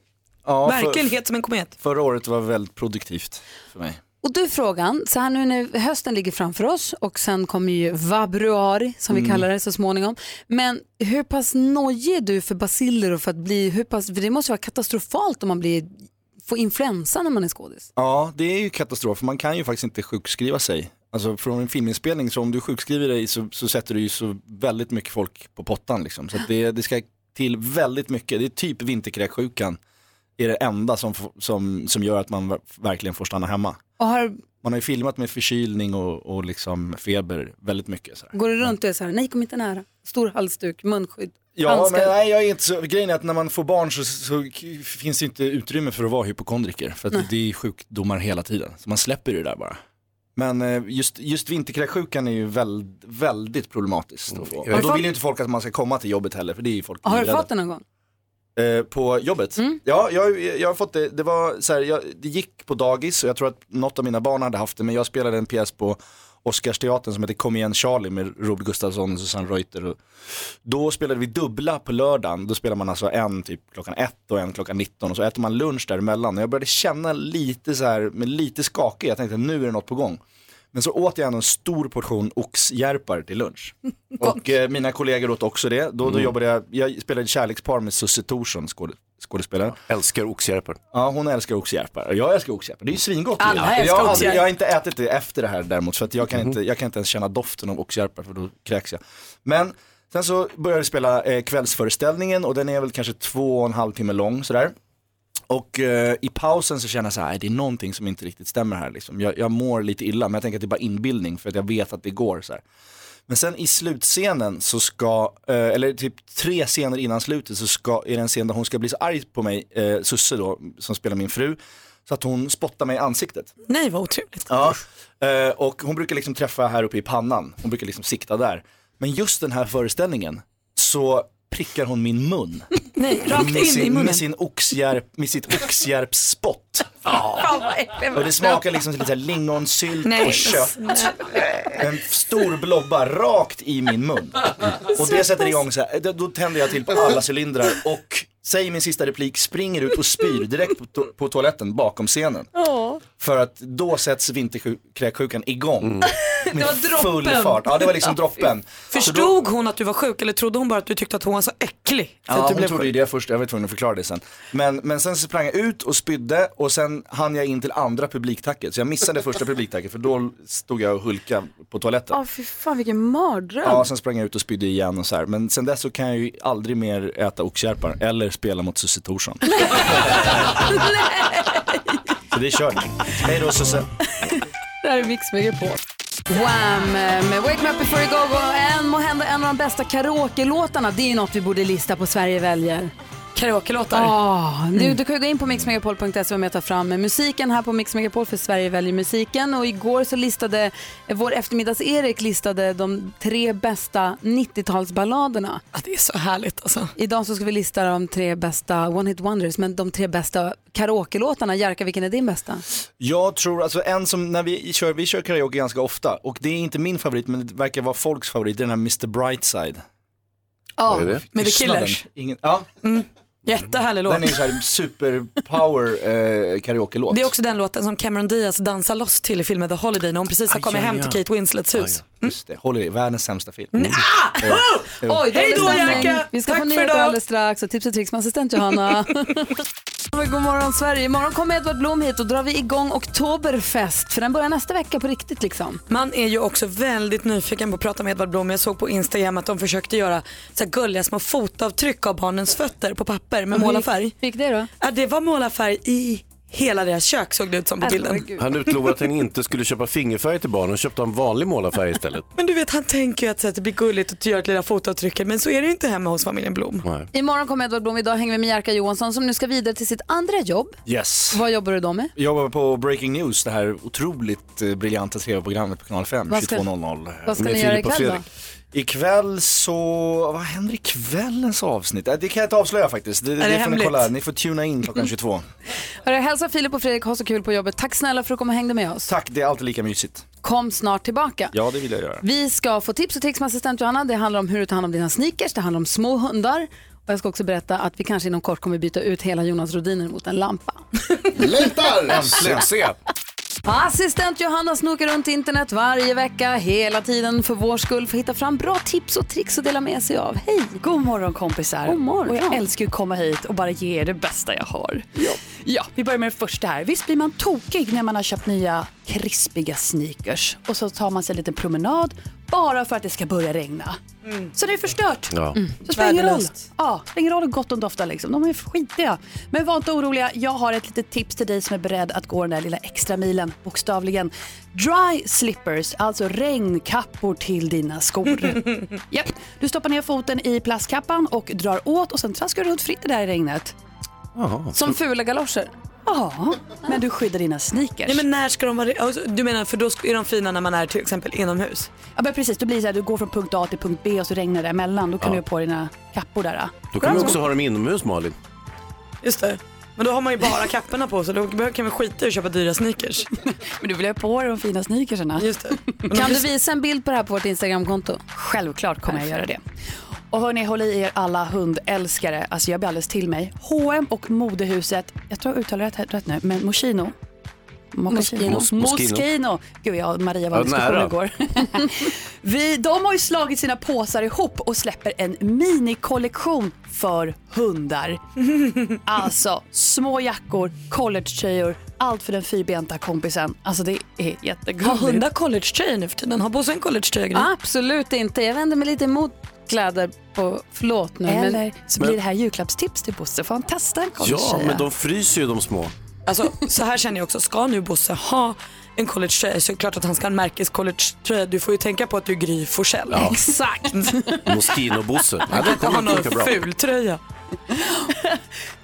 Ja, för- verkligen het som en komet. Förra året var väldigt produktivt för mig. Och du frågan, så här nu när hösten ligger framför oss och sen kommer ju vabruari som vi Mm. kallar det så småningom. Men hur pass nojig är du för basiller och för att bli, hur pass, för det måste vara katastrofalt om man blir, får influensa när man är skådis. Ja, det är ju katastrof. Man kan ju faktiskt inte sjukskriva sig. Alltså från en filminspelning, så om du sjukskriver dig så, så sätter du ju så väldigt mycket folk på pottan liksom. Så att det, det ska till väldigt mycket. Det är typ vinterkräksjukan. är det enda som, f- som, som gör att man ver- verkligen får stanna hemma. Och har, Man har ju filmat med förkylning och, och liksom feber väldigt mycket. Så här. går du runt och är så här, nej kom inte nära, stor halsduk, munskydd, Ja, handskar. men nej, jag är inte så, grejen är att när man får barn så, så k- finns det inte utrymme för att vara hypokondriker. För att Nej. det är sjukdomar hela tiden. Så man släpper det där bara. Men eh, just, just vinterkräksjukan är ju väl, väldigt problematiskt att få. Har Och du då fått- vill ju inte folk att man ska komma till jobbet heller, för det är ju folk Har du livrädda. fått Mm. den någon gång? Eh, på jobbet? Ja, jag, jag har fått det. Det, var så här, jag, det gick på dagis och jag tror att något av mina barn hade haft det, men jag spelade en pjäs på Oscarsteatern som heter Kom igen Charlie med Robert Gustafsson och Susanne Reuter. Och då spelade vi dubbla på lördagen. Då spelar man alltså en typ klockan ett och en klockan 19 och så äter man lunch däremellan. Och jag började känna lite så här, men lite skakig. Jag tänkte nu är det något på gång. Men så åt jag ändå en stor portion oxjärpar till lunch. Och eh, mina kollegor åt också det. Då, då Mm. jobbade jag, jag spelade kärlekspar med Susie Thorsson, skåde- skådespelare. Älskar oxjärpar. Ja, hon älskar oxjärpar. Och jag älskar oxjärpar. Det är ju svingott. Alla ju. älskar jag, har aldrig- oxjärpar. jag har inte ätit det efter det här däremot, för att jag, kan inte, jag kan inte ens känna doften av oxjärpar, för då kräks jag. Men sen så började jag spela eh, kvällsföreställningen och den är väl kanske två och en halv timme lång sådär. Och eh, i pausen så känner jag så här, "Nej, det är någonting som inte riktigt stämmer här liksom. jag, jag mår lite illa, men jag tänker att det är bara inbildning för att jag vet att det går så här. Men sen i slutscenen så ska, eh, eller typ tre scener innan slutet så ska, är det en scen där hon ska bli så arg på mig, eh, Susse då, som spelar min fru, så att hon spottar mig i ansiktet. Nej vad otrevligt. Ja, eh, och hon brukar liksom träffa här uppe i pannan, hon brukar liksom sikta där. Men just den här föreställningen så prickar hon min mun. Nej, rakt in med sin, i munnen. Med, sin oxjärp, med sitt oxjärpsspott. Fan, vad äckligt. Och det smakar liksom till lite så här lingonsylt Nej, och kött. En stor blobba rakt i min mun. Och det sätter igång så här, då- då tänder jag till på alla cylindrar och säger min sista replik, springer ut och spyr direkt på, to- på toaletten bakom scenen. Ja. För att då sätts vinterkräksjukan igång. Det var Full droppen. fart, ja det var liksom Ja, fy. droppen. Förstod hon att du var sjuk eller trodde hon bara att du tyckte att hon var så äcklig? Så Ja, att du hon trodde ju det först, jag var tvungen att förklara det sen. Men, men sen så sprang jag ut och spydde och sen hann jag in till andra publiktacket. Så jag missade första publiktacket för då stod jag och hulkade på toaletten. Åh, fy fan vilken mardröm. Ja, sen sprang jag ut och spydde igen och så här. Men sen dess så kan jag ju aldrig mer äta oxkärpar eller spela mot Susie Thorsson. så det är kört. Hej då Susse. Det här är Mix Megapol. Wham! Med Wake Me Up Before You Go Go en, må hända en av de bästa karaoke-låtarna. Det är ju något vi borde lista på Sverige väljer. Karaoke-låtar? Ja, du, du kan ju gå in på mixmegapol.se och vara med och ta fram musiken här på Mix Megapol för Sverige väljer musiken. Och igår så listade eh, vår eftermiddags-Erik listade de tre bästa 90-talsballaderna. Ja, det är så härligt alltså. Idag så ska vi lista de tre bästa One Hit Wonders, men de tre bästa karaoke-låtarna. Jerka, vilken är din bästa? Jag tror, alltså en som, när vi kör, vi kör karaoke ganska ofta och det är inte min favorit men det verkar vara folks favorit, det är den här Mr Brightside. Ja, Vad är det? med The Lyssna Killers. den. Ingen, ja. Jättehärlig låt. Den är så här superpower eh, karaoke-låt. Det är också den låten som Cameron Diaz dansar loss till i filmen The Holiday när hon precis har kommit ja, hem ja. till Kate Winslets hus. Just det, Holiday, världens sämsta film. Ah! Eh, eh. Oj, Hej då, stämning. Jerka! Vi ska Tack få för nyheter idag. alldeles strax och tips och tricks med assistent Johanna. God morgon Sverige. Imorgon kommer Edvard Blom hit och drar vi igång Oktoberfest för den börjar nästa vecka på riktigt liksom. Man är ju också väldigt nyfiken på att prata med Edvard Blom. Jag såg på Instagram att de försökte göra så här gulliga små fotavtryck av barnens fötter på papper med hur- målarfärg. Hur gick det då? Ja, det var målarfärg i hela deras kök såg det ut som på bilden. Han utlovade att han inte skulle köpa fingerfärg till barnen och köpte en vanlig målarfärg istället. Men du vet han tänker ju att, så att det blir gulligt att göra ett lilla fotavtryck men så är det ju inte hemma hos familjen Blom. Nej. Imorgon kommer Edvard Blom. Idag hänger vi med Jerka Johansson som nu ska vidare till sitt andra jobb. Yes. Vad jobbar du då med? Jag jobbar på Breaking News, det här otroligt eh, briljanta tv-programmet på Kanal 5, Vad ska- 22.00. vad ska ni göra och ikväll då? Ikväll så, vad händer i kvällens avsnitt? Eh, Det kan jag inte avslöja faktiskt. Det, Är det, det får ni hemligt? kolla, ni får tuna in klockan 22. Hörru, hälsa Filip och Fredrik, ha så kul på jobbet. Tack snälla för att du kom och hängde med oss. Tack, det är alltid lika mysigt. Kom snart tillbaka. Ja, det vill jag göra. Vi ska få tips och tricks med assistent Johanna. Det handlar om hur du tar hand om dina sneakers, det handlar om små hundar. Och jag ska också berätta att vi kanske inom kort kommer byta ut hela Jonas Rodiner mot en lampa. Längtar! Äntligen. Succé! Assistent Johanna snokar runt internet varje vecka, hela tiden för vår skull, för att hitta fram bra tips och tricks att dela med sig av. Hej! God morgon kompisar. God morgon. Och jag älskar ju att komma hit och bara ge er det bästa jag har. Ja. vi börjar med det första här. Visst blir man tokig när man har köpt nya krispiga sneakers och så tar man sig en liten promenad bara för att det ska börja regna. Mm. Så det är förstört. Ja. Så spelar ingen roll. Värdelöst. Ja, spelar ingen roll hur gott de doftar liksom. De är skitiga. Men var inte oroliga. Jag har ett litet tips till dig som är beredd att gå den där lilla extra milen, bokstavligen. Dry slippers, alltså regnkappor till dina skor. Japp. Du stoppar ner foten i plastkappan och drar åt och sen traskar du runt fritt där i regnet. Som fula galoscher? Ja, men du skyddar dina sneakers. Nej men när ska de vara, alltså, du menar för då är de fina när man är till exempel inomhus? Ja, men precis. Då blir det så här, du går från punkt A till punkt B och så regnar det emellan. Då kan Ja. du ha på dina kappor där. Då kan man också ha dem inomhus Malin. Just det. Men då har man ju bara kapporna på sig, då kan man skita i att köpa dyra sneakers. men du vill ha på dig de fina sneakersarna. Just det. Kan du visa en bild på det här på vårt Instagramkonto? Självklart kommer jag göra det. Och hörni, håll i er alla hundälskare. Alltså jag blir alldeles till mig. H&M och modehuset, jag tror jag uttalar det rätt, rätt nu, men Moschino. Moschino. Moschino. Moschino. Gud, jag och Maria var i Ja, diskussion nära. igår. Vi, de har ju slagit sina påsar ihop och släpper en minikollektion för hundar. Alltså, små jackor, collegetröjor, allt för den fyrbenta kompisen. Alltså det är jättegulligt. Har hundar collegetröjor nu för tiden? Har Bosse en collegetröja? Absolut inte. Jag vänder mig lite emot kläder på... Förlåt nu. Eller men... så blir det här julklappstips till Bosse, får han testa en Ja, collegetröja. men de fryser ju de små. Alltså så här känner jag också, ska nu Bosse ha en collegetröja så är det klart att han ska ha en märkescollegetröja. Du får ju tänka på att du är Gry Forssell. Ja. Exakt. Moschino-Bosse. Ja, det Han har kommer funka en bra. ful tröja.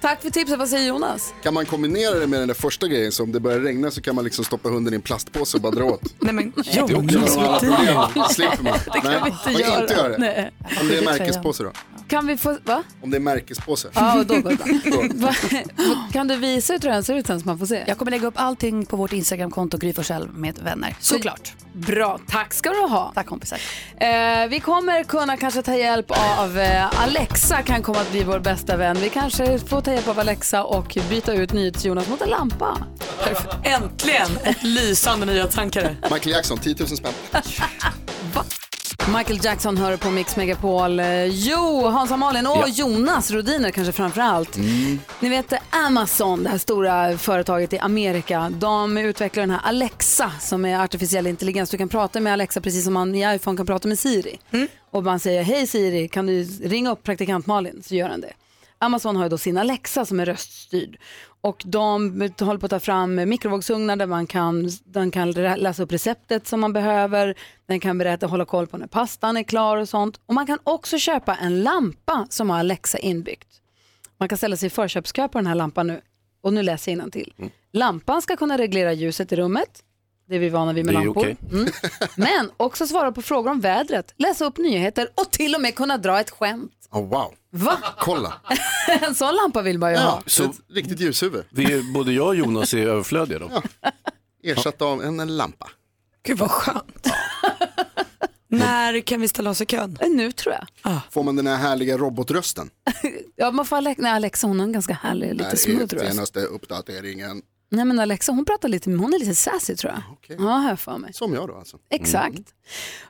Tack för tipset. Vad säger Jonas? Kan man kombinera det med den där första grejen, så om det börjar regna så kan man liksom stoppa hunden i en plastpåse och bara dra åt? Nej men Det är också bra. Alla problem slipper man. Det kan Nej, vi inte man kan göra. inte göra det. Nej. Om det är Tröjan. märkespåse då? Kan vi få... Va? Om det är märkespåse? Ja, och då går det bra. Va- Kan du visa hur tröjan ser ut sen så man får se? Jag kommer lägga upp allting på vårt Instagramkonto Gry Forssell med vänner. Såklart. Bra, tack ska du ha. Tack kompisar. Eh, vi kommer kunna kanske ta hjälp av eh, Alexa kan komma att bli vår bästa vän. Vi kanske får ta hjälp av Alexa och byta ut NyhetsJonas mot en lampa. Äntligen ett lysande nyhetstankare. Michael Jackson, 10 000 spänn. Michael Jackson hör på Mix Megapol. Eh, Jo, Hansa Malin och Ja. Jonas Rodiner kanske framför allt. Ni vet eh, Amazon, det här stora företaget i Amerika, de utvecklar den här Alexa som är artificiell intelligens. Du kan prata med Alexa precis som man i iPhone kan prata med Siri. Och man säger hej Siri, kan du ringa upp praktikant Malin? Så gör den det. Amazon har ju då sin Alexa som är röststyrd. Och de håller på att ta fram mikrovågsugnar där man kan, den kan rä- läsa upp receptet som man behöver. Den kan berätta, hålla koll på när pastan är klar och sånt. Och man kan också köpa en lampa som har Alexa inbyggt. Man kan ställa sig i förköpskö på den här lampan nu. Och nu läser jag till. Mm. Lampan ska kunna reglera ljuset i rummet. Det är vi vana vid med Det är lampor. okej. Mm. Men också svara på frågor om vädret, läsa upp nyheter och till och med kunna dra ett skämt. Oh, wow. Va? Kolla. En sån lampa vill man ju ha. Ja, så ett riktigt ljushuvud. Vi, både jag och Jonas är överflödiga då. Ersatt av en, en lampa. Gud vad skönt. När kan vi ställa oss i kön? Eh, Nu tror jag. Får man den här härliga robotrösten? Ja, man får Alexa, nej, Alexa hon har en ganska härlig, Här lite är smooth röst. Senaste uppdateringen. Nej men Alexa hon pratar lite, hon är lite sassy tror jag. Ja, har jag för mig. Som jag då alltså. Exakt.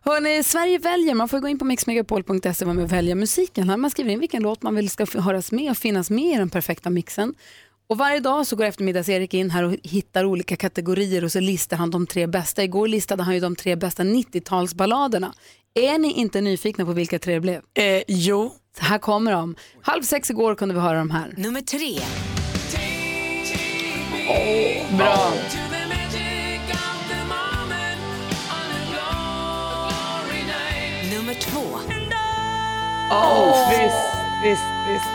Hörrni, Sverige väljer, man får gå in på mixmegapol.se och vara med och välja musiken. Här man skriver in vilken låt man vill ska f- höras med och finnas med i den perfekta mixen. Och varje dag så går eftermiddags-Erik in här och hittar olika kategorier och så listar han de tre bästa. Igår listade han ju de tre bästa 90-talsballaderna. Är ni inte nyfikna på vilka tre det blev? Eh, jo. Här kommer de. Halv sex igår kunde vi höra de här. Nummer tre. Bra. Nummer två. Åh, visst, visst, visst.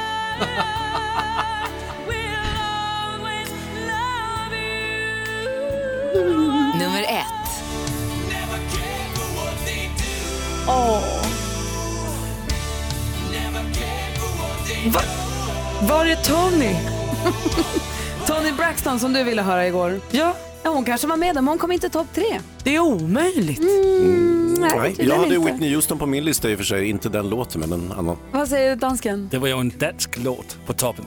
Nummer ett. Va? Var är Tony? Tony Braxton som du ville höra igår. Ja. ja hon kanske var med där, men hon kom inte i topp tre. Det är omöjligt. nej, Nej, jag tydligen hade inte. Whitney Houston på min lista i och för sig, inte den låten men en annan. Vad säger dansken? Det var ju en dansk låt på toppen.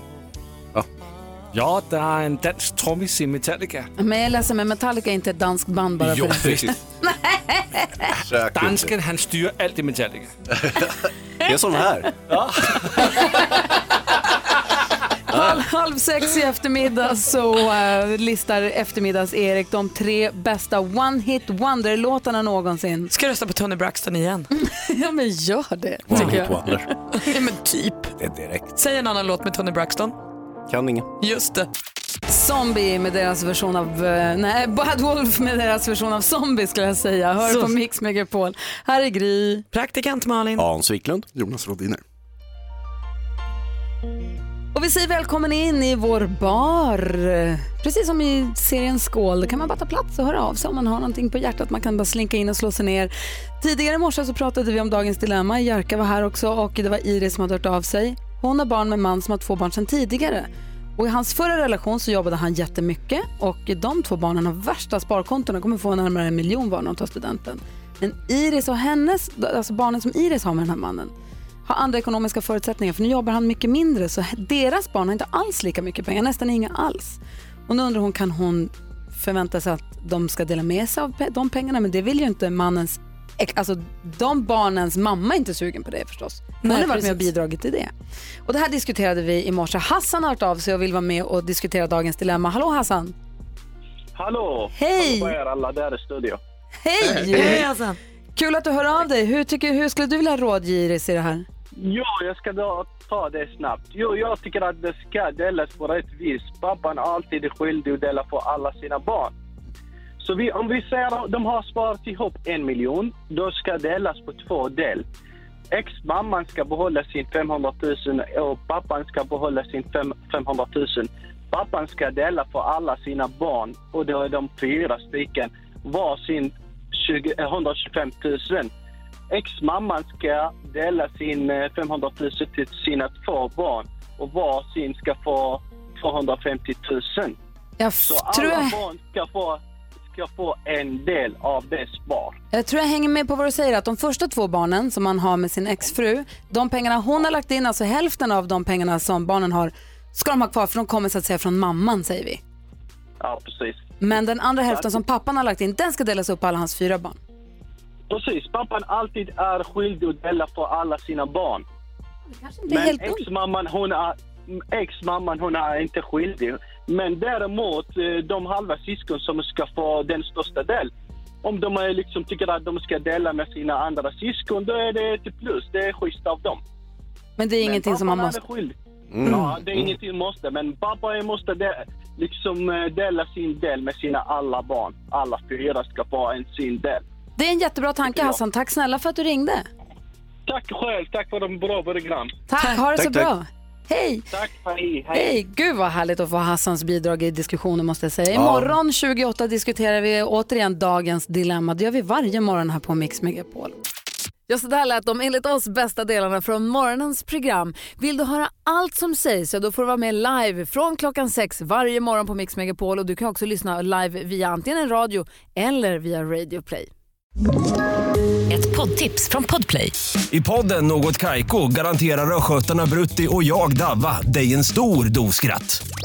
Ja, det är en dansk trummis i Metallica. Men jag är ledsen, men Metallica är inte ett danskt band bara Jo, för det. visst. Dansken, han styr allt i Metallica. Det är som här. Halv, halv sex i eftermiddag så eh, listar eftermiddags-Erik de tre bästa one-hit wonder-låtarna någonsin. Ska jag rösta på Tony Braxton igen? ja men gör det. One tycker hit jag. wonder. Ja, men typ. Det är direkt. Säg en annan låt med Tony Braxton. Kan ingen. Just det. Zombie med deras version av, eh, nej, Bad Wolf med deras version av Zombie skulle jag säga. Hör Så- på Mix Megapol. Här är Gry. Praktikant Malin. Hans Wiklund. Jonas Rodiner. Och vi säger välkommen in i vår bar. Precis som i serien Skål, där kan man bara ta plats och höra av sig om man har någonting på hjärtat. Man kan bara slinka in och slå sig ner. Tidigare i morse så pratade vi om dagens dilemma. Jerka var här också och det var Iris som hade hört av sig. Hon har barn med en man som har två barn sedan tidigare. Och i hans förra relation så jobbade han jättemycket och de två barnen har värsta sparkontona kommer få närmare en miljon var när de tar studenten. Men Iris och hennes, alltså barnen som Iris har med den här mannen, har andra ekonomiska förutsättningar för nu jobbar han mycket mindre så deras barn har inte alls lika mycket pengar, nästan inga alls. Och nu undrar hon, kan hon förväntar sig att de ska dela med sig av pe- de pengarna men det vill ju inte mannens, ex- alltså de barnens mamma är inte sugen på det förstås. Hon Nej, har varit med och precis. bidragit till det. Och det här diskuterade vi i morse. Hassan har hört av sig och vill vara med och diskutera dagens dilemma. Hallå Hassan! Hallå! Hej! Hallå på er alla där i studion. Hej! Kul att du hör av dig. Hur, tycker, hur skulle du vilja rådgiras i det här? Ja, jag ska då ta det snabbt. Jo, jag tycker att det ska delas på rätt vis. Pappan är alltid skyldig att dela på alla sina barn. Så vi, om vi säger att de har sparat ihop en miljon, då ska delas på två del. Ex-mamman ska behålla sin 500 000 och pappan ska behålla sin fem- 500 000. Pappan ska dela på alla sina barn och då är de fyra stycken var sin 20, eh, 125 000. Ex-mamman ska dela sin eh, 500 000 till sina två barn och var sin ska få 250 000. Jag f- Så alla tror jag- barn ska få, ska få en del av det spar. Jag tror jag hänger med på vad du säger, att de första två barnen som man har med sin exfru, de pengarna hon har lagt in, alltså hälften av de pengarna som barnen har, ska de ha kvar för de kommer så att säga från mamman säger vi. Ja, precis. Men den andra hälften som pappan har lagt in, den ska delas upp på alla hans fyra barn. Precis, pappan alltid är skyldig att dela på alla sina barn. inte är Men helt ex-mamman hon är, ex-mamman hon är inte skyldig. Men däremot eh, de halva syskon som ska få den största del. Om de är liksom tycker att de ska dela med sina andra syskon, då är det ett plus. Det är schysst av dem. Men det är ingenting som man pappan måste... är skyldig. Mm. Ja, det är Mm. ingenting måste, men pappa måste de, liksom eh, dela sin del med sina alla barn. Alla fyra ska få en sin del. Det är en jättebra tanke Hassan, tack snälla för att du ringde. Tack själv, tack för de bra program. Tack, ha det så bra. Hej! Tack, hej, hej. Hej, gud vad härligt att få Hassans bidrag i diskussionen måste jag säga. Ja. Imorgon 28 diskuterar vi återigen dagens dilemma. Det gör vi varje morgon här på Mix Megapol. Ja, så där lät de enligt oss bästa delarna från morgonens program. Vill du höra allt som sägs så då får du vara med live från klockan sex varje morgon på Mix Megapol och du kan också lyssna live via antingen en radio eller via Radio Play. Ett poddtips från Podplay. I podden Något Kaiko garanterar östgötarna Brutti och jag, Davva, dig en stor dos skratt.